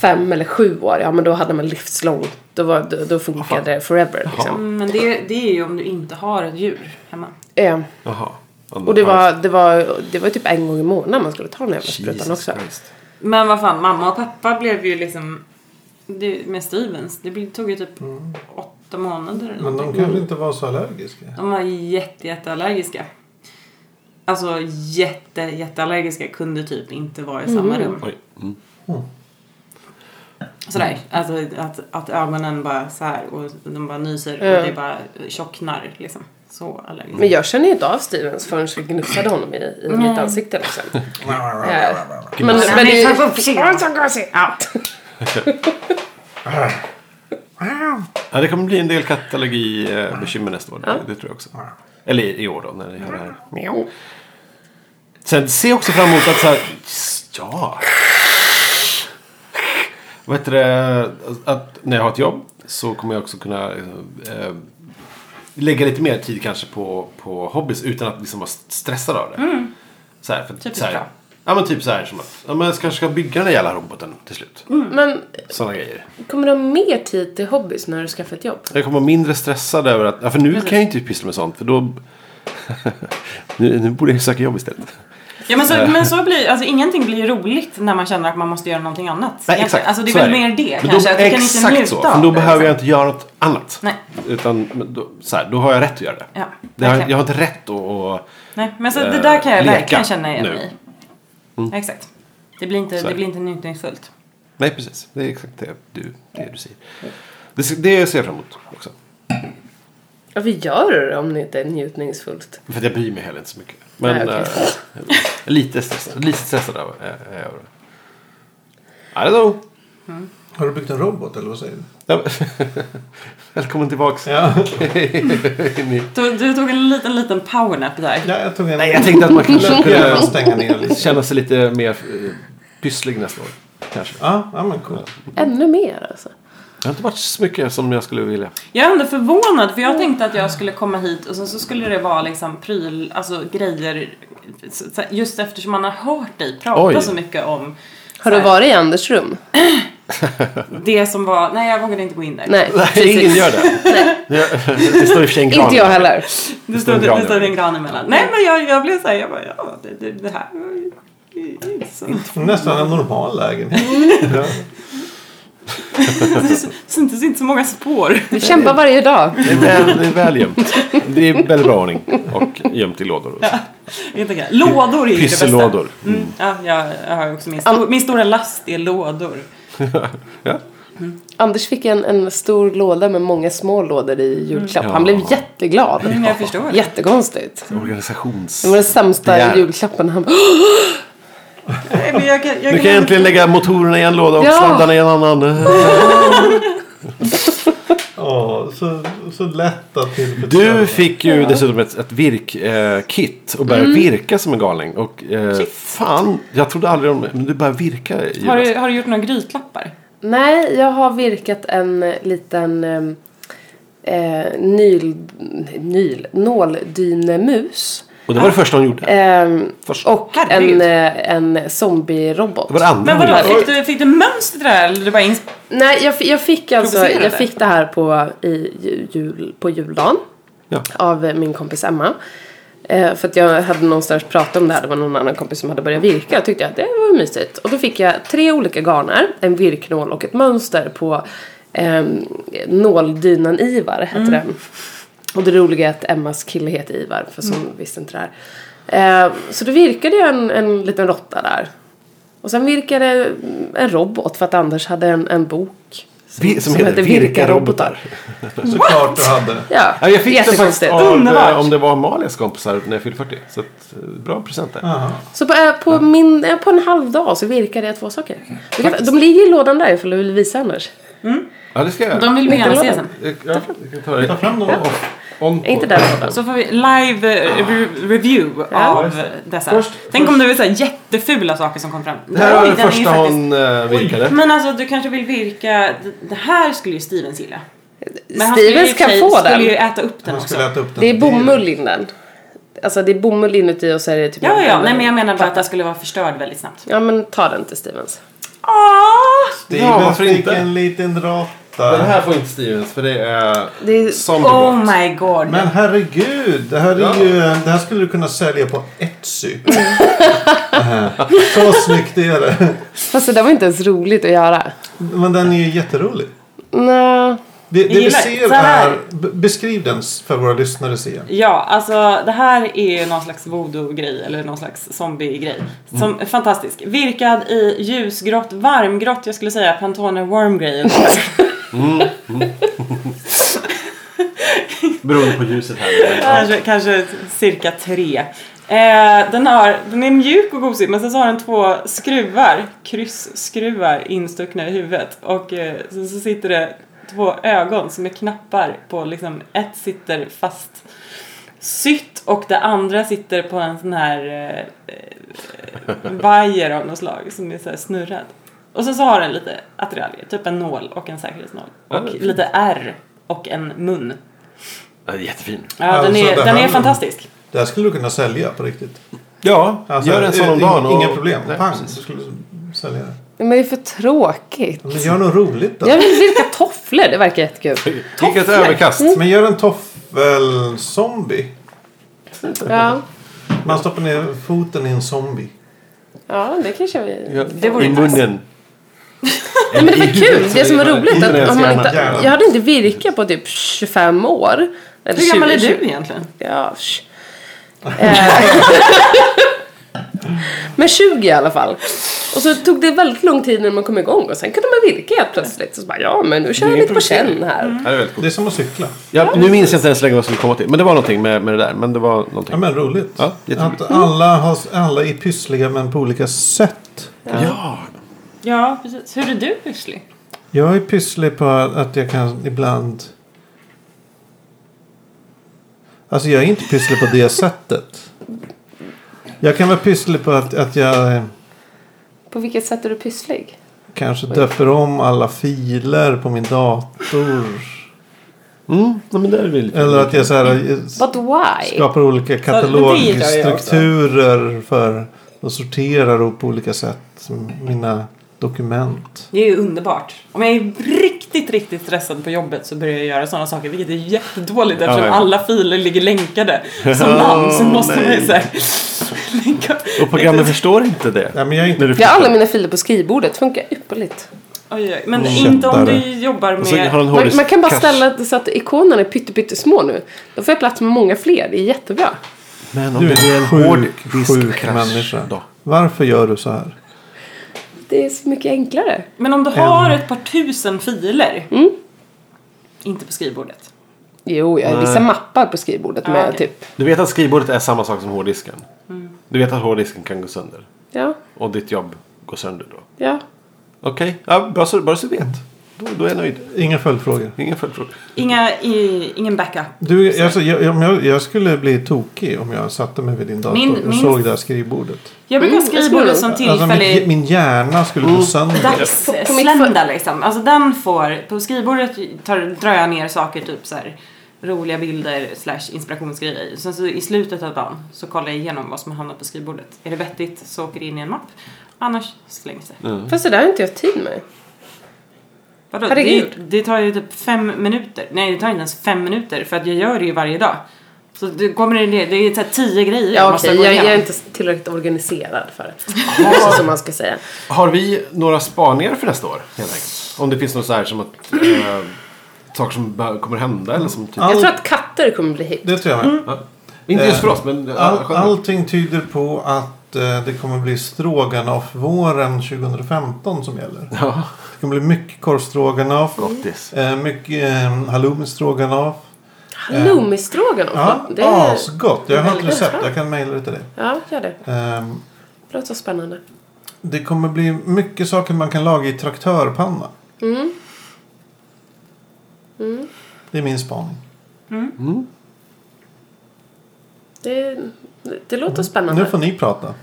Speaker 4: fem eller sju år, ja men då hade man livslång, då, var, då, då funkade det forever liksom.
Speaker 1: Mm, Men det, det är ju om du inte har ett djur hemma.
Speaker 4: Eh,
Speaker 3: Jaha.
Speaker 4: och det var, det, var, det var typ en gång i månaden man skulle ta den här jävla sprutan också.
Speaker 3: Christ.
Speaker 1: Men vad fan, mamma och pappa blev ju liksom det, med Stevens. Det blev- tog ju typ
Speaker 3: Mm.
Speaker 1: åtta månader eller
Speaker 2: Men
Speaker 1: någonting.
Speaker 2: de kanske inte var så allergiska.
Speaker 1: De var jätte, jätteallergiska. Alltså jätte, jätteallergiska. Kunde typ inte vara i samma rum.
Speaker 3: Oj. Mm.
Speaker 1: Sådär. Alltså att, att ögonen bara så här och de bara nyser och det bara tjocknar liksom. Så allergisk.
Speaker 4: Men jag känner ju inte av Stevens förrän vi gnussade honom i, i mitt ansikte liksom. Eh, Men,
Speaker 1: Nej,
Speaker 4: men det,
Speaker 1: fan, försiktig. Ja.
Speaker 3: Ja, det kommer bli en del kattallergibekymmer nästa år. Det, det tror jag också. Eller i i år då, när ni gör det här. Sen se också fram emot att så här, ja. Vad heter det? Att när jag har ett jobb så kommer jag också kunna eh, eh, lägga lite mer tid kanske på, på hobbys utan att liksom vara stressad av det. Så här, för,
Speaker 1: Mm. Typiskt
Speaker 3: så här,
Speaker 1: bra.
Speaker 3: Ja men typ så här som att ja, men jag kanske ska bygga den där jävla roboten till slut. Mm.
Speaker 4: men
Speaker 3: Sådana grejer.
Speaker 4: kommer du ha mer tid till hobbys när du skaffar ett jobb?
Speaker 3: Jag kommer vara mindre stressad över att, ja, för nu kan jag inte pyssla med sånt för då nu, nu borde jag ju söka jobb istället.
Speaker 1: Ja men så, men så blir alltså ingenting blir ju roligt när man känner att man måste göra någonting annat.
Speaker 3: Nej, exakt.
Speaker 1: Alltså det är
Speaker 3: Så
Speaker 1: väl
Speaker 3: det.
Speaker 1: mer det
Speaker 3: Men då-
Speaker 1: kanske. att du kan inte
Speaker 3: exakt
Speaker 1: njuta
Speaker 3: så.
Speaker 1: av
Speaker 3: För då
Speaker 1: det,
Speaker 3: behöver jag
Speaker 1: liksom.
Speaker 3: inte göra något annat.
Speaker 1: Nej.
Speaker 3: Utan men då, så här, då har jag rätt att göra det.
Speaker 1: Ja,
Speaker 3: det har,
Speaker 1: verkligen.
Speaker 3: jag har inte rätt att... att
Speaker 1: Nej, men så
Speaker 3: eh,
Speaker 1: det där kan jag
Speaker 3: leka
Speaker 1: verkligen känna igen
Speaker 3: nu. Mm.
Speaker 1: mig i. Exakt. Det blir inte,
Speaker 3: Så är
Speaker 1: det
Speaker 3: det.
Speaker 1: blir inte njutningsfullt.
Speaker 3: nej, precis. Det är exakt det du, det du säger. Det, ser- det ser jag fram emot också.
Speaker 4: Varför gör du det om det inte är njutningsfullt?
Speaker 3: För att jag bryr mig heller inte så mycket. Men
Speaker 4: Nej, okej.
Speaker 3: eh, jag är lite stressad, lite stressad över eh, över det. I don't know.
Speaker 2: Har du byggt en robot eller vad säger du?
Speaker 3: Ja, men- Välkommen tillbaks.
Speaker 2: Ja,
Speaker 3: in i-
Speaker 1: Du, du tog en liten, liten powernap där.
Speaker 2: ja jag tog en...
Speaker 3: Nej, jag tänkte att man kanske
Speaker 2: Jag kunde
Speaker 3: kunde
Speaker 2: bara stänga ner lite.
Speaker 3: känna sig lite mer eh, pysslig nästa år. Kanske.
Speaker 2: Ja, ja men coolt.
Speaker 4: Ännu mer alltså.
Speaker 3: Jag har inte varit så mycket som jag skulle vilja.
Speaker 1: Jag är ändå förvånad för jag
Speaker 4: Mm.
Speaker 1: tänkte att jag skulle komma hit och sen så skulle det vara liksom pryl, alltså grejer. så- så- Just eftersom man har hört dig prata
Speaker 3: Oj.
Speaker 1: så mycket om
Speaker 4: Har du varit i Anders rum?
Speaker 1: det som var, nej jag vågade inte gå in där.
Speaker 4: Nej,
Speaker 3: Nej, ingen gör det. Det står i och för sig en gran.
Speaker 4: Inte jag heller.
Speaker 1: Det stod,
Speaker 3: en gran
Speaker 1: det stod
Speaker 3: över.
Speaker 1: en gran emellan. Nej men jag, jag blev såhär, jag bara ja det, det, det här var ju- det är inte så-
Speaker 2: Nästan en normal lägenhet. Ja.
Speaker 1: det syntes inte så många spår.
Speaker 4: Vi kämpar varje dag.
Speaker 3: Det är väl, det är väl gömt. Det är väldigt bra ordning. Och gömt i lådor. och så.
Speaker 1: Helt enkelt. Lådor är ju det bästa.
Speaker 3: Pyssellådor.
Speaker 5: Mm.
Speaker 1: Mm. Ja, jag, jag har ju också min, stor, min stora last är lådor.
Speaker 3: Ja.
Speaker 4: Anders fick en, en stor låda med många små lådor i julklapp. Han blev jätteglad.
Speaker 1: Men jag förstår.
Speaker 4: Jättekonstigt.
Speaker 5: Organisations...
Speaker 4: Det var den sämsta
Speaker 5: Jävlar.
Speaker 4: julklappen. Han
Speaker 1: Nej, men jag kan, jag
Speaker 5: Nu kan jag äntligen lägga motorerna i en låda och
Speaker 4: Ja.
Speaker 5: sladdarna i en annan.
Speaker 2: Ja, så, så lätt att
Speaker 5: Du
Speaker 2: tillfredsställa.
Speaker 5: fick ju dessutom ett, ett virkkit eh, kit och började virka som en galning. Och eh, fan, jag trodde aldrig om det. Men du började virka i
Speaker 1: Har
Speaker 5: julas.
Speaker 1: du, har du gjort några grytlappar?
Speaker 4: Nej, jag har virkat en eh, liten eh, eh, nyl, nyl, nåldynemus.
Speaker 5: Och det var det första hon gjorde.
Speaker 4: Eh,
Speaker 5: Första.
Speaker 4: och en,
Speaker 1: Herregud.
Speaker 4: eh, en zombie-robot.
Speaker 5: Det var det andra
Speaker 1: Men
Speaker 5: hon
Speaker 1: vadå,
Speaker 5: gjorde.
Speaker 1: fick du, fick du mönster till det här? Eller du bara ins-
Speaker 4: Nej, jag, fi- jag fick alltså,
Speaker 1: Provocerande.
Speaker 4: jag fick det här på, i, ju- jul, på juldagen.
Speaker 5: Ja.
Speaker 4: Av eh, min kompis Emma. Eh, för att jag hade någonstans pratat om det här. Det var någon annan kompis som hade börjat virka. Jag tyckte att det var ju mysigt. Och då fick jag tre olika garner. En virknål och ett mönster på eh, nåldynan Ivar hette den. Och det roliga är att Emmas kille heter Ivar. För som visste inte det här. Eh, så då virkade jag en, en liten råtta där. Och sen virkade en robot för att Anders hade en, en bok.
Speaker 5: Vi- Som heter Virka robotar.
Speaker 2: Såklart du hade.
Speaker 4: Ja,
Speaker 5: Ja, jag fick det faktiskt
Speaker 4: jättekonstigt.
Speaker 5: av,
Speaker 1: Underbart.
Speaker 5: eh, om det var Amalias kompisar när jag fyllde 40. Så att, eh, bra present där.
Speaker 2: Ja.
Speaker 4: Så på, eh, på, min, eh, på en halv dag så virkade jag två saker. Du kan- De ligger i lådan där ifall du vill visa Anders.
Speaker 5: Ja, det ska jag
Speaker 1: De
Speaker 5: göra.
Speaker 1: vill vi gärna se sen.
Speaker 5: Eh, Ja, jag kan ta det.
Speaker 2: Ta fram dem.
Speaker 5: On
Speaker 4: Inte den lådan.
Speaker 1: Så får vi live eh, re- review av dessa.
Speaker 5: Först-
Speaker 1: Tänk om det var så här jättefula saker som kom fram.
Speaker 5: Det här var
Speaker 1: Oj,
Speaker 5: det
Speaker 1: den är ju
Speaker 5: första
Speaker 1: faktiskt-
Speaker 5: hon eh, virkade.
Speaker 1: Men alltså du kanske vill virka, d- det här skulle ju Stevens gilla. Men han skulle ju
Speaker 4: Stevens
Speaker 1: i och för
Speaker 4: kan
Speaker 1: sig-
Speaker 4: få den.
Speaker 1: skulle ju äta upp den
Speaker 2: Han
Speaker 1: också.
Speaker 2: skulle äta upp den.
Speaker 4: Det är bomull i den. Alltså det är bomull inuti och så är det typ...
Speaker 1: Ja, ja, ja,
Speaker 4: en-
Speaker 1: nej men jag menar bara att den skulle vara förstörd väldigt snabbt.
Speaker 4: Ja men ta den till Stevens.
Speaker 1: Åh!
Speaker 2: Det
Speaker 5: Ja,
Speaker 2: är
Speaker 5: varför
Speaker 2: väl fick
Speaker 5: inte?
Speaker 2: en liten
Speaker 5: Den
Speaker 2: råtta.
Speaker 5: här får inte Stevens för det är...
Speaker 4: Det är-
Speaker 5: Zombie
Speaker 1: Oh
Speaker 5: Boy.
Speaker 1: my god.
Speaker 2: Men herregud, det här, är
Speaker 5: Ja.
Speaker 2: ju, det här skulle du kunna sälja på Etsy. Det här. Så snyggt är det.
Speaker 4: Fast det där var inte ens roligt att göra.
Speaker 2: Men den är ju jätterolig.
Speaker 4: Nej.
Speaker 2: Det, det vi
Speaker 1: gillar-
Speaker 2: ser
Speaker 1: så här.
Speaker 2: är... b- Beskriv den för våra lyssnare Sia.
Speaker 1: Ja, alltså det här är ju någon slags voodoo-grej eller någon slags zombie-grej. Som är fantastisk. Virkad i ljusgrått, varmgrått, jag skulle säga Pantone Worm-grej.
Speaker 5: Beroende på ljuset här.
Speaker 1: kanske, kanske cirka tre. Eh, den, har, den är mjuk och gosig men sen så har den två skruvar, kryssskruvar instuckna i huvudet och eh, sen så sitter det två ögon som är knappar på liksom ett sitter fast sytt och det andra sitter på en sån här eh, eh, vajer av något slag som är så här snurrad. Och sen så har den lite attiraljer, typ en nål och en säkerhetsnål
Speaker 5: Ja,
Speaker 1: och
Speaker 5: det är fint.
Speaker 1: lite ärr och en mun.
Speaker 5: Ja, jättefin.
Speaker 1: Ja,
Speaker 2: Alltså,
Speaker 1: den är,
Speaker 2: det
Speaker 1: den
Speaker 2: här-
Speaker 1: är fantastisk.
Speaker 2: Det här skulle du kunna sälja på riktigt.
Speaker 5: Ja,
Speaker 2: Alltså,
Speaker 5: gör en sån om
Speaker 2: i- i-
Speaker 5: dagen. och-
Speaker 2: Inga problem.
Speaker 5: Nej,
Speaker 2: Pang,
Speaker 5: precis.
Speaker 2: du skulle du sälja det.
Speaker 4: Men det är för tråkigt.
Speaker 2: Men gör något roligt då.
Speaker 4: Jag vill virka tofflor, det verkar jättekul.
Speaker 5: Vilket överkast.
Speaker 1: Mm.
Speaker 2: Men gör en toffelzombie.
Speaker 4: Ja,
Speaker 2: Man stoppar ner foten i en zombie.
Speaker 4: ja det kanske vi...
Speaker 1: Det vore
Speaker 5: I
Speaker 1: nice.
Speaker 5: munnen.
Speaker 4: Nej, men det var kul. Det som var roligt
Speaker 5: Internet
Speaker 4: att om man
Speaker 5: gärna.
Speaker 4: inte,
Speaker 2: Gärna.
Speaker 4: jag hade inte virkat på typ 25 år. Eller
Speaker 1: Hur gammal
Speaker 4: 20,
Speaker 1: är du
Speaker 4: 20,
Speaker 1: egentligen?
Speaker 4: Ja, sh- Eh. Men 20 i alla fall. Och så tog det väldigt lång tid när man kom igång och sen kunde man virka helt plötsligt. Så, så bara, ja men nu kör jag lite på känn här.
Speaker 3: Mm.
Speaker 5: Ja, det är väldigt coolt.
Speaker 2: Det är som att cykla.
Speaker 5: Ja, nu minns jag inte ens längre vad jag skulle komma till. Men det var någonting med, med det där. Men det
Speaker 2: Ja,
Speaker 5: var någonting.
Speaker 2: men roligt.
Speaker 5: Ja, jätteroligt.
Speaker 2: att alla, har, alla är pyssliga men på olika sätt.
Speaker 5: Ja.
Speaker 1: Ja, precis. Hur är du pysslig?
Speaker 2: Jag är pysslig på att jag kan ibland... Alltså jag är inte pysslig på det sättet. Jag kan vara pysslig på att, att jag eh,
Speaker 4: På vilket sätt är du pysslig?
Speaker 2: kanske döper om alla filer på min dator.
Speaker 5: Mm, ja, men där är vi lite.
Speaker 2: Eller att jag så här, eh,
Speaker 4: But why?
Speaker 2: skapar olika katalogstrukturer för och sorterar upp på olika sätt mina dokument.
Speaker 1: Det är ju underbart. Om jag är riktigt, riktigt stressad på jobbet så börjar jag göra sådana saker, vilket är jättedåligt eftersom
Speaker 5: Ja, ja.
Speaker 1: alla filer ligger länkade som namn så måste man ju såhär länka.
Speaker 5: Och programmet förstår inte det.
Speaker 2: Nej, men jag är inte
Speaker 5: När du
Speaker 4: Jag har alla
Speaker 5: förstår.
Speaker 4: mina filer på skrivbordet, funkar ypperligt.
Speaker 1: Oj, oj. Men inte om du jobbar
Speaker 5: Mm. Och så
Speaker 3: Alltså,
Speaker 1: med...
Speaker 5: har han
Speaker 4: Man,
Speaker 5: hårddisk-
Speaker 4: man kan bara
Speaker 5: kass.
Speaker 4: ställa det så att ikonerna är pytte, pyttesmå nu. Då får jag plats med många fler, det är jättebra.
Speaker 5: Men om
Speaker 2: Du
Speaker 5: det är en
Speaker 2: är en
Speaker 5: hård
Speaker 2: sjuk, sjuk
Speaker 5: diskkrasch
Speaker 2: människa.
Speaker 5: då?
Speaker 2: Varför gör du så här?
Speaker 4: det är så mycket enklare.
Speaker 1: Men om du
Speaker 5: Mm.
Speaker 1: har ett par tusen filer. Inte på skrivbordet.
Speaker 4: Jo, jag har vissa mappar på skrivbordet
Speaker 1: Ja,
Speaker 4: med
Speaker 1: okej.
Speaker 4: typ.
Speaker 3: Du vet att skrivbordet är samma sak som hårddisken.
Speaker 4: Mm.
Speaker 3: Du vet att hårddisken kan gå sönder.
Speaker 4: Ja,
Speaker 3: Och ditt jobb går sönder då.
Speaker 4: ja.
Speaker 3: Okej, ja, bra så, bara så du vet. Då, då är jag nöjd.
Speaker 2: Inga följdfrågor.
Speaker 3: Ingen följdfråga.
Speaker 1: Inga, i, ingen backup.
Speaker 2: Du, alltså, jag, jag, jag- jag skulle bli tokig om jag satte mig vid din dator
Speaker 1: Min-
Speaker 2: och
Speaker 1: min-
Speaker 2: såg det här skrivbordet.
Speaker 1: Jag brukar ha
Speaker 4: Mm, jag
Speaker 1: skrivbordet
Speaker 4: skulle-
Speaker 1: som
Speaker 2: Alltså, min,
Speaker 1: tillfällig
Speaker 2: min hjärna skulle
Speaker 1: Mm.
Speaker 2: gå sönder.
Speaker 4: På- på mitt
Speaker 1: dagsslända liksom. Alltså den får, på skrivbordet tar, drar jag ner saker typ så här roliga bilder slash inspirationsgrejer. Sen så i slutet av dagen så kollar jag igenom vad som har hamnat på skrivbordet. Är det vettigt så åker det in i en mapp. Annars slängs det.
Speaker 4: Fast det där har inte jag tid med.
Speaker 1: Vadå? Det,
Speaker 4: Herregud.
Speaker 1: det tar ju typ fem minuter. Nej, det tar inte ens fem minuter för att jag gör det ju varje dag. Så det kommer det det är så här tio grejer
Speaker 4: Ja,
Speaker 1: måste
Speaker 4: okej.
Speaker 1: gå
Speaker 4: Jag, jag är
Speaker 1: igenom.
Speaker 4: inte tillräckligt organiserad för det. Så som man ska säga.
Speaker 3: Har vi några spaningar för nästa år? Helt enkelt? Om det finns något så här som att eh, saker som bör- kommer hända eller som typ...
Speaker 2: Ja.
Speaker 4: Jag tror att katter kommer bli hit.
Speaker 2: Det tror jag
Speaker 4: Mm.
Speaker 2: med.
Speaker 3: Ja. Inte just för oss men... eh,
Speaker 2: All,
Speaker 3: generellt.
Speaker 2: allting tyder på att eh, det kommer bli stroganoff-våren 2015 som gäller.
Speaker 3: Ja.
Speaker 2: Det kommer bli mycket korvstroganoff.
Speaker 3: Gottis.
Speaker 2: Eh, mycket eh, halloumi stroganoff.
Speaker 4: Halloumi-stroganoff.
Speaker 2: Ja, Ah,
Speaker 4: det är...
Speaker 2: asgott. Jag har ett
Speaker 4: väldigt
Speaker 2: recept.
Speaker 4: bra.
Speaker 2: Jag kan mejla det till dig.
Speaker 4: Ja, gör det.
Speaker 2: Ehm,
Speaker 4: Det låter så spännande.
Speaker 2: det kommer bli mycket saker man kan laga i traktörpanna.
Speaker 4: Mm.
Speaker 2: Det är min spaning.
Speaker 4: Det, det låter
Speaker 2: Nu får
Speaker 4: spännande.
Speaker 2: ni prata.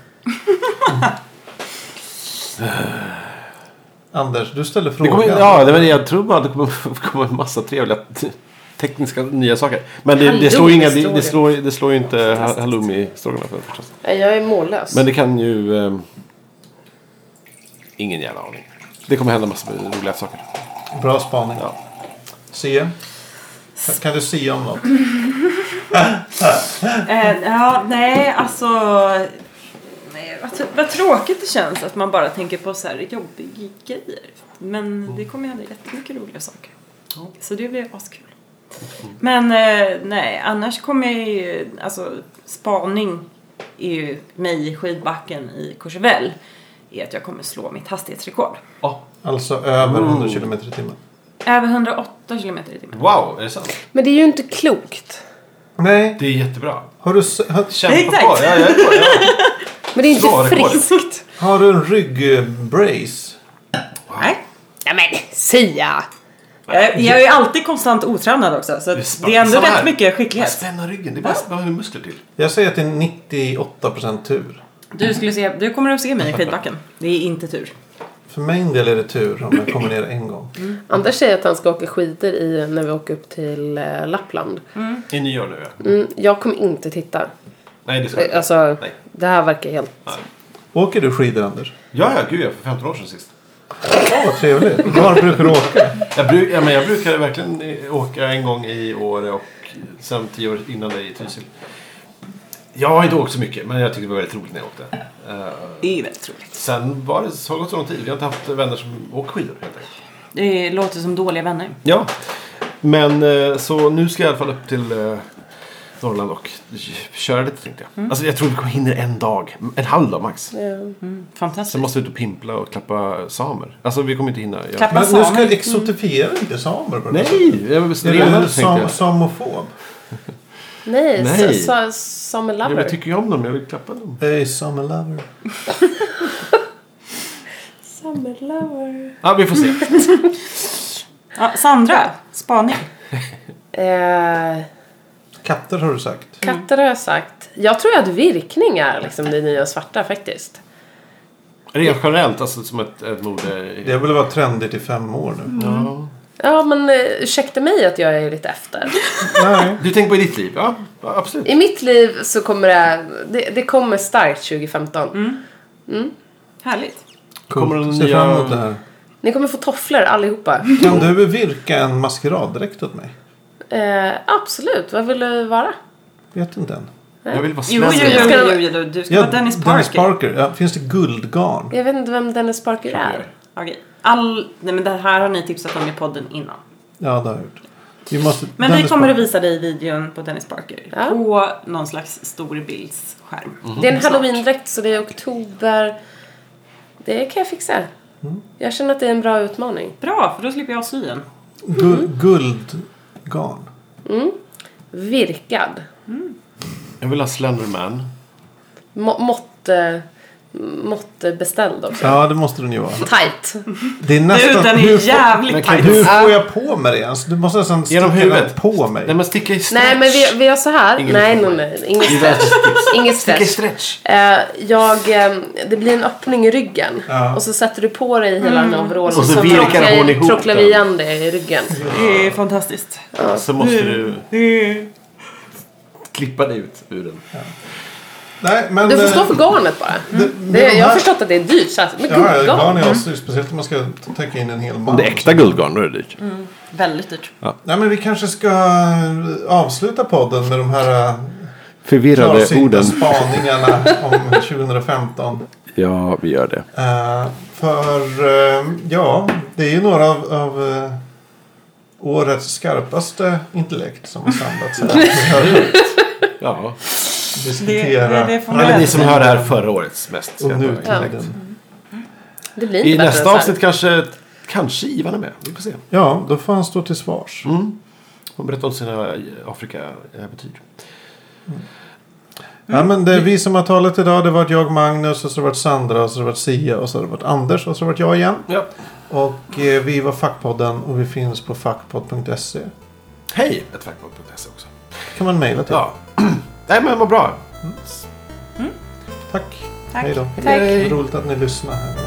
Speaker 2: Anders, du ställer
Speaker 3: Det
Speaker 2: frågan.
Speaker 3: kommer, ja, det, men jag tror bara att det kommer komma en massa trevliga t- tekniska nya saker. Men det, det, slår, ju inga, det, det, slår, det slår ju inte ha- halloumi-stroganoff förstås.
Speaker 4: Nej, Jag är mållös.
Speaker 3: Men det kan ju... ehm, ingen jävla aning. Det kommer hända massor med roliga saker.
Speaker 2: Bra spaning.
Speaker 3: Ja.
Speaker 2: Se. Kan- Kan du se om något?
Speaker 1: Eh, ja, nej, alltså... Nej, vad, tr- vad tråkigt det känns att man bara tänker på så här jobbiga grejer. Men det kommer ju hända jättemycket roliga saker. Så det blir askul. Men eh, nej, annars kommer jag ju... Alltså, spaning är ju mig i skidbacken i Courchevel är att jag kommer slå mitt hastighetsrekord.
Speaker 2: Alltså över
Speaker 3: Mm.
Speaker 2: 100 km i timmen.
Speaker 1: Över 108 kilometer i timmen.
Speaker 3: Wow, är det sant?
Speaker 4: Men det är ju inte klokt.
Speaker 2: Nej,
Speaker 3: Det är jättebra.
Speaker 2: har du, s- har,
Speaker 3: Kämpa
Speaker 1: Exakt.
Speaker 3: på. Ja, jag är på. Ja.
Speaker 4: Men det är inte
Speaker 3: Bra rekord.
Speaker 4: friskt.
Speaker 2: har du en ryggbrace?
Speaker 1: Nej.
Speaker 4: Ja, men Sia!
Speaker 1: Jag, jag är ju alltid konstant otränad också så att det är ändå
Speaker 3: Samma här.
Speaker 1: rätt mycket
Speaker 3: Bara
Speaker 1: skicklighet.
Speaker 3: Spänna ryggen. Det är bara att spänna muskler till.
Speaker 2: Jag säger att det är 98% tur.
Speaker 1: Du, skulle se, du kommer att se mig i skidbacken. Det är inte tur.
Speaker 2: För min del är det tur om jag kommer ner en gång.
Speaker 4: Anders säger att han ska åka skidor i, när vi åker upp till eh, Lappland.
Speaker 3: I nyår nu ja.
Speaker 4: Mm, jag kommer inte titta.
Speaker 3: Nej, det ska jag
Speaker 4: Eh,
Speaker 3: inte.
Speaker 4: Alltså,
Speaker 3: Nej.
Speaker 4: det här verkar helt...
Speaker 2: Åker du skidor Anders?
Speaker 3: Ja, ja, gud ja. För 15 år sedan sist.
Speaker 2: Ja, vad trevligt. Var brukar du åka?
Speaker 3: Jag, bruk, ja, men jag brukade verkligen eh, åka en gång i år och sen tio år innan det i Trysil. Jag har inte åkt så mycket, men jag tyckte det var väldigt roligt när jag åkte. Eh,
Speaker 1: Det är väldigt troligt.
Speaker 3: sen var det, så har det gått så lång tid. Vi har inte haft vänner som åker skidor helt enkelt.
Speaker 1: Det låter som dåliga vänner.
Speaker 3: Ja, men eh, så nu ska jag i alla fall upp till eh, Norrland och köra lite tänkte jag. Alltså jag tror vi kommer hinna en dag, en halv dag max.
Speaker 4: Ja.
Speaker 1: Fantastiskt.
Speaker 3: Sen måste vi ut och pimpla och klappa samer. Alltså vi kommer inte hinna göra
Speaker 1: Klappa
Speaker 2: Men nu ska
Speaker 1: samer.
Speaker 2: jag exotifiera inte samer på det här sättet.
Speaker 3: Nej! Jag vill
Speaker 2: Är du
Speaker 3: stenar tänkte
Speaker 2: sam
Speaker 3: jag.
Speaker 2: samofob?
Speaker 4: Nej,
Speaker 3: Nej.
Speaker 4: Så, så, som en
Speaker 3: Ja, men
Speaker 4: lover.
Speaker 3: jag tycker ju om dem, jag vill klappa dem.
Speaker 2: Hey, summer lover.
Speaker 4: Summer lover.
Speaker 3: Ja, vi får se.
Speaker 1: Ja, Sandra, spaning.
Speaker 4: Eh,
Speaker 2: Katter har du sagt.
Speaker 4: katter har jag sagt. Jag tror att virkning är liksom det nya svarta faktiskt.
Speaker 3: Rent generellt, alltså som ett, ett mode...
Speaker 2: Det har väl varit trendigt i fem år
Speaker 3: Mm.
Speaker 2: nu.
Speaker 3: Ja.
Speaker 4: Ja, men eh, ursäkta mig att jag är lite efter.
Speaker 2: Nej.
Speaker 3: Du tänker på i ditt liv? Ja, ja, absolut.
Speaker 4: I mitt liv så kommer det... Det, det kommer starkt 2015.
Speaker 1: Härligt.
Speaker 3: Kommer det
Speaker 2: Coolt.
Speaker 3: någon
Speaker 2: Ser fram emot
Speaker 3: nya-
Speaker 2: det här.
Speaker 4: Ni kommer få tofflor allihopa.
Speaker 2: Kan du virka en maskeraddräkt åt mig?
Speaker 4: Eh, absolut, vad vill du vara?
Speaker 2: Vet inte än.
Speaker 3: Jag vill vara
Speaker 1: Jo, jo,
Speaker 3: svensk.
Speaker 1: jo,
Speaker 4: Ska
Speaker 1: jo,
Speaker 4: det-
Speaker 1: jo, jo. du ska
Speaker 2: Ja,
Speaker 1: vara Dennis Parker.
Speaker 2: Ja, finns det guldgarn?
Speaker 4: Jag vet inte vem Dennis Parker är.
Speaker 1: Okej. All, nej, men det här har ni tipsat om i podden innan.
Speaker 2: Ja, det har jag gjort. Vi måste,
Speaker 1: Men vi
Speaker 2: Dennis
Speaker 1: kommer
Speaker 2: Parker.
Speaker 1: att visa dig videon på Dennis Parker.
Speaker 4: Ja.
Speaker 1: På någon slags storbildsskärm.
Speaker 4: Det är en halloween-dräkt så det är oktober Det kan jag fixa. Jag känner att det är en bra utmaning.
Speaker 1: Bra, för då slipper jag sy en.
Speaker 2: Gu- Guldgarn.
Speaker 4: Virkad.
Speaker 3: Jag vill ha Slenderman.
Speaker 4: Må- måtte, måttebeställd också.
Speaker 2: Ja, det måste den ju vara.
Speaker 4: Tight.
Speaker 2: Det är
Speaker 1: Du,
Speaker 2: nästan...
Speaker 1: den är
Speaker 2: Alltså, hur, får,
Speaker 1: jävligt
Speaker 3: kan-
Speaker 1: tajt.
Speaker 2: hur får jag på mig det ens? Du måste nästan
Speaker 3: Genom
Speaker 2: sticka
Speaker 3: huvudet.
Speaker 2: den på mig.
Speaker 3: Nej men sticka i stretch.
Speaker 4: Nej men vi, vi gör så här.
Speaker 3: Ingen
Speaker 4: nej, nej,
Speaker 3: utmaning.
Speaker 4: nej. Inget
Speaker 3: Det är
Speaker 4: stress. Inget
Speaker 3: Sticka i
Speaker 4: stress.
Speaker 3: stretch.
Speaker 4: Eh, jag, eh, det blir en öppning i ryggen.
Speaker 2: Ja.
Speaker 4: Och så sätter du på dig hela den overallen.
Speaker 3: Och så virkar
Speaker 4: tråcklar-
Speaker 3: hon ihop
Speaker 4: tråcklar vi
Speaker 3: den.
Speaker 4: igen det i ryggen.
Speaker 1: Det är fantastiskt.
Speaker 3: Så måste du
Speaker 1: Det är...
Speaker 3: klippa dig ut ur den.
Speaker 2: Nej, men...
Speaker 4: Du får
Speaker 2: eh,
Speaker 4: stå för garnet bara.
Speaker 3: Mm.
Speaker 2: det-
Speaker 4: Det,
Speaker 2: med de
Speaker 4: jag har
Speaker 2: här-
Speaker 4: förstått att det är dyrt. Så att, men
Speaker 2: Ja, ja,
Speaker 4: guldgarn.
Speaker 2: garn är asdyrt. Speciellt om man ska täcka in en hel man.
Speaker 6: Om det är äkta guldgarn då är det
Speaker 4: Mm.
Speaker 6: dyrt.
Speaker 1: Väldigt dyrt.
Speaker 2: Nej, men vi kanske ska eh, avsluta podden med de här eh,
Speaker 6: Förvirrade
Speaker 2: klarsynta
Speaker 6: orden.
Speaker 2: spaningarna om 2015.
Speaker 6: Ja, vi gör det.
Speaker 2: Eh, för eh, ja, det är ju några av, av eh, årets skarpaste intellekt som har samlats här. Vi har
Speaker 3: Ja.
Speaker 1: Det-
Speaker 2: diskutera
Speaker 1: det- det får man
Speaker 3: Alla
Speaker 1: väl.
Speaker 3: ni som hör det här förra årets mest. ska
Speaker 2: och
Speaker 3: jag bara-
Speaker 2: nutiden.
Speaker 4: Det blir inte
Speaker 3: I
Speaker 4: bättre
Speaker 3: nästa
Speaker 4: än så här.
Speaker 3: avsnitt kanske, kanske Ivan är med. Vi får se.
Speaker 2: Ja, då får han stå till svars.
Speaker 3: Hon berättar om sina eh, Afrika-äventyr.
Speaker 2: Ja, men det är vi som har talat idag. Det har varit jag, Magnus, och så har det varit Sandra, och så har det varit Sia, och så har det varit Anders, och så har det varit jag igen.
Speaker 3: Ja.
Speaker 2: Och eh, vi var Fackpodden och vi finns på fackpodd.se.
Speaker 3: Hej! Ett fackbok.se E också.
Speaker 2: E. kan man mejla till.
Speaker 3: Ja. Nej men vad bra.
Speaker 2: Tack.
Speaker 1: Tack.
Speaker 2: Hej då.
Speaker 4: Tack.
Speaker 2: Roligt att ni lyssnar.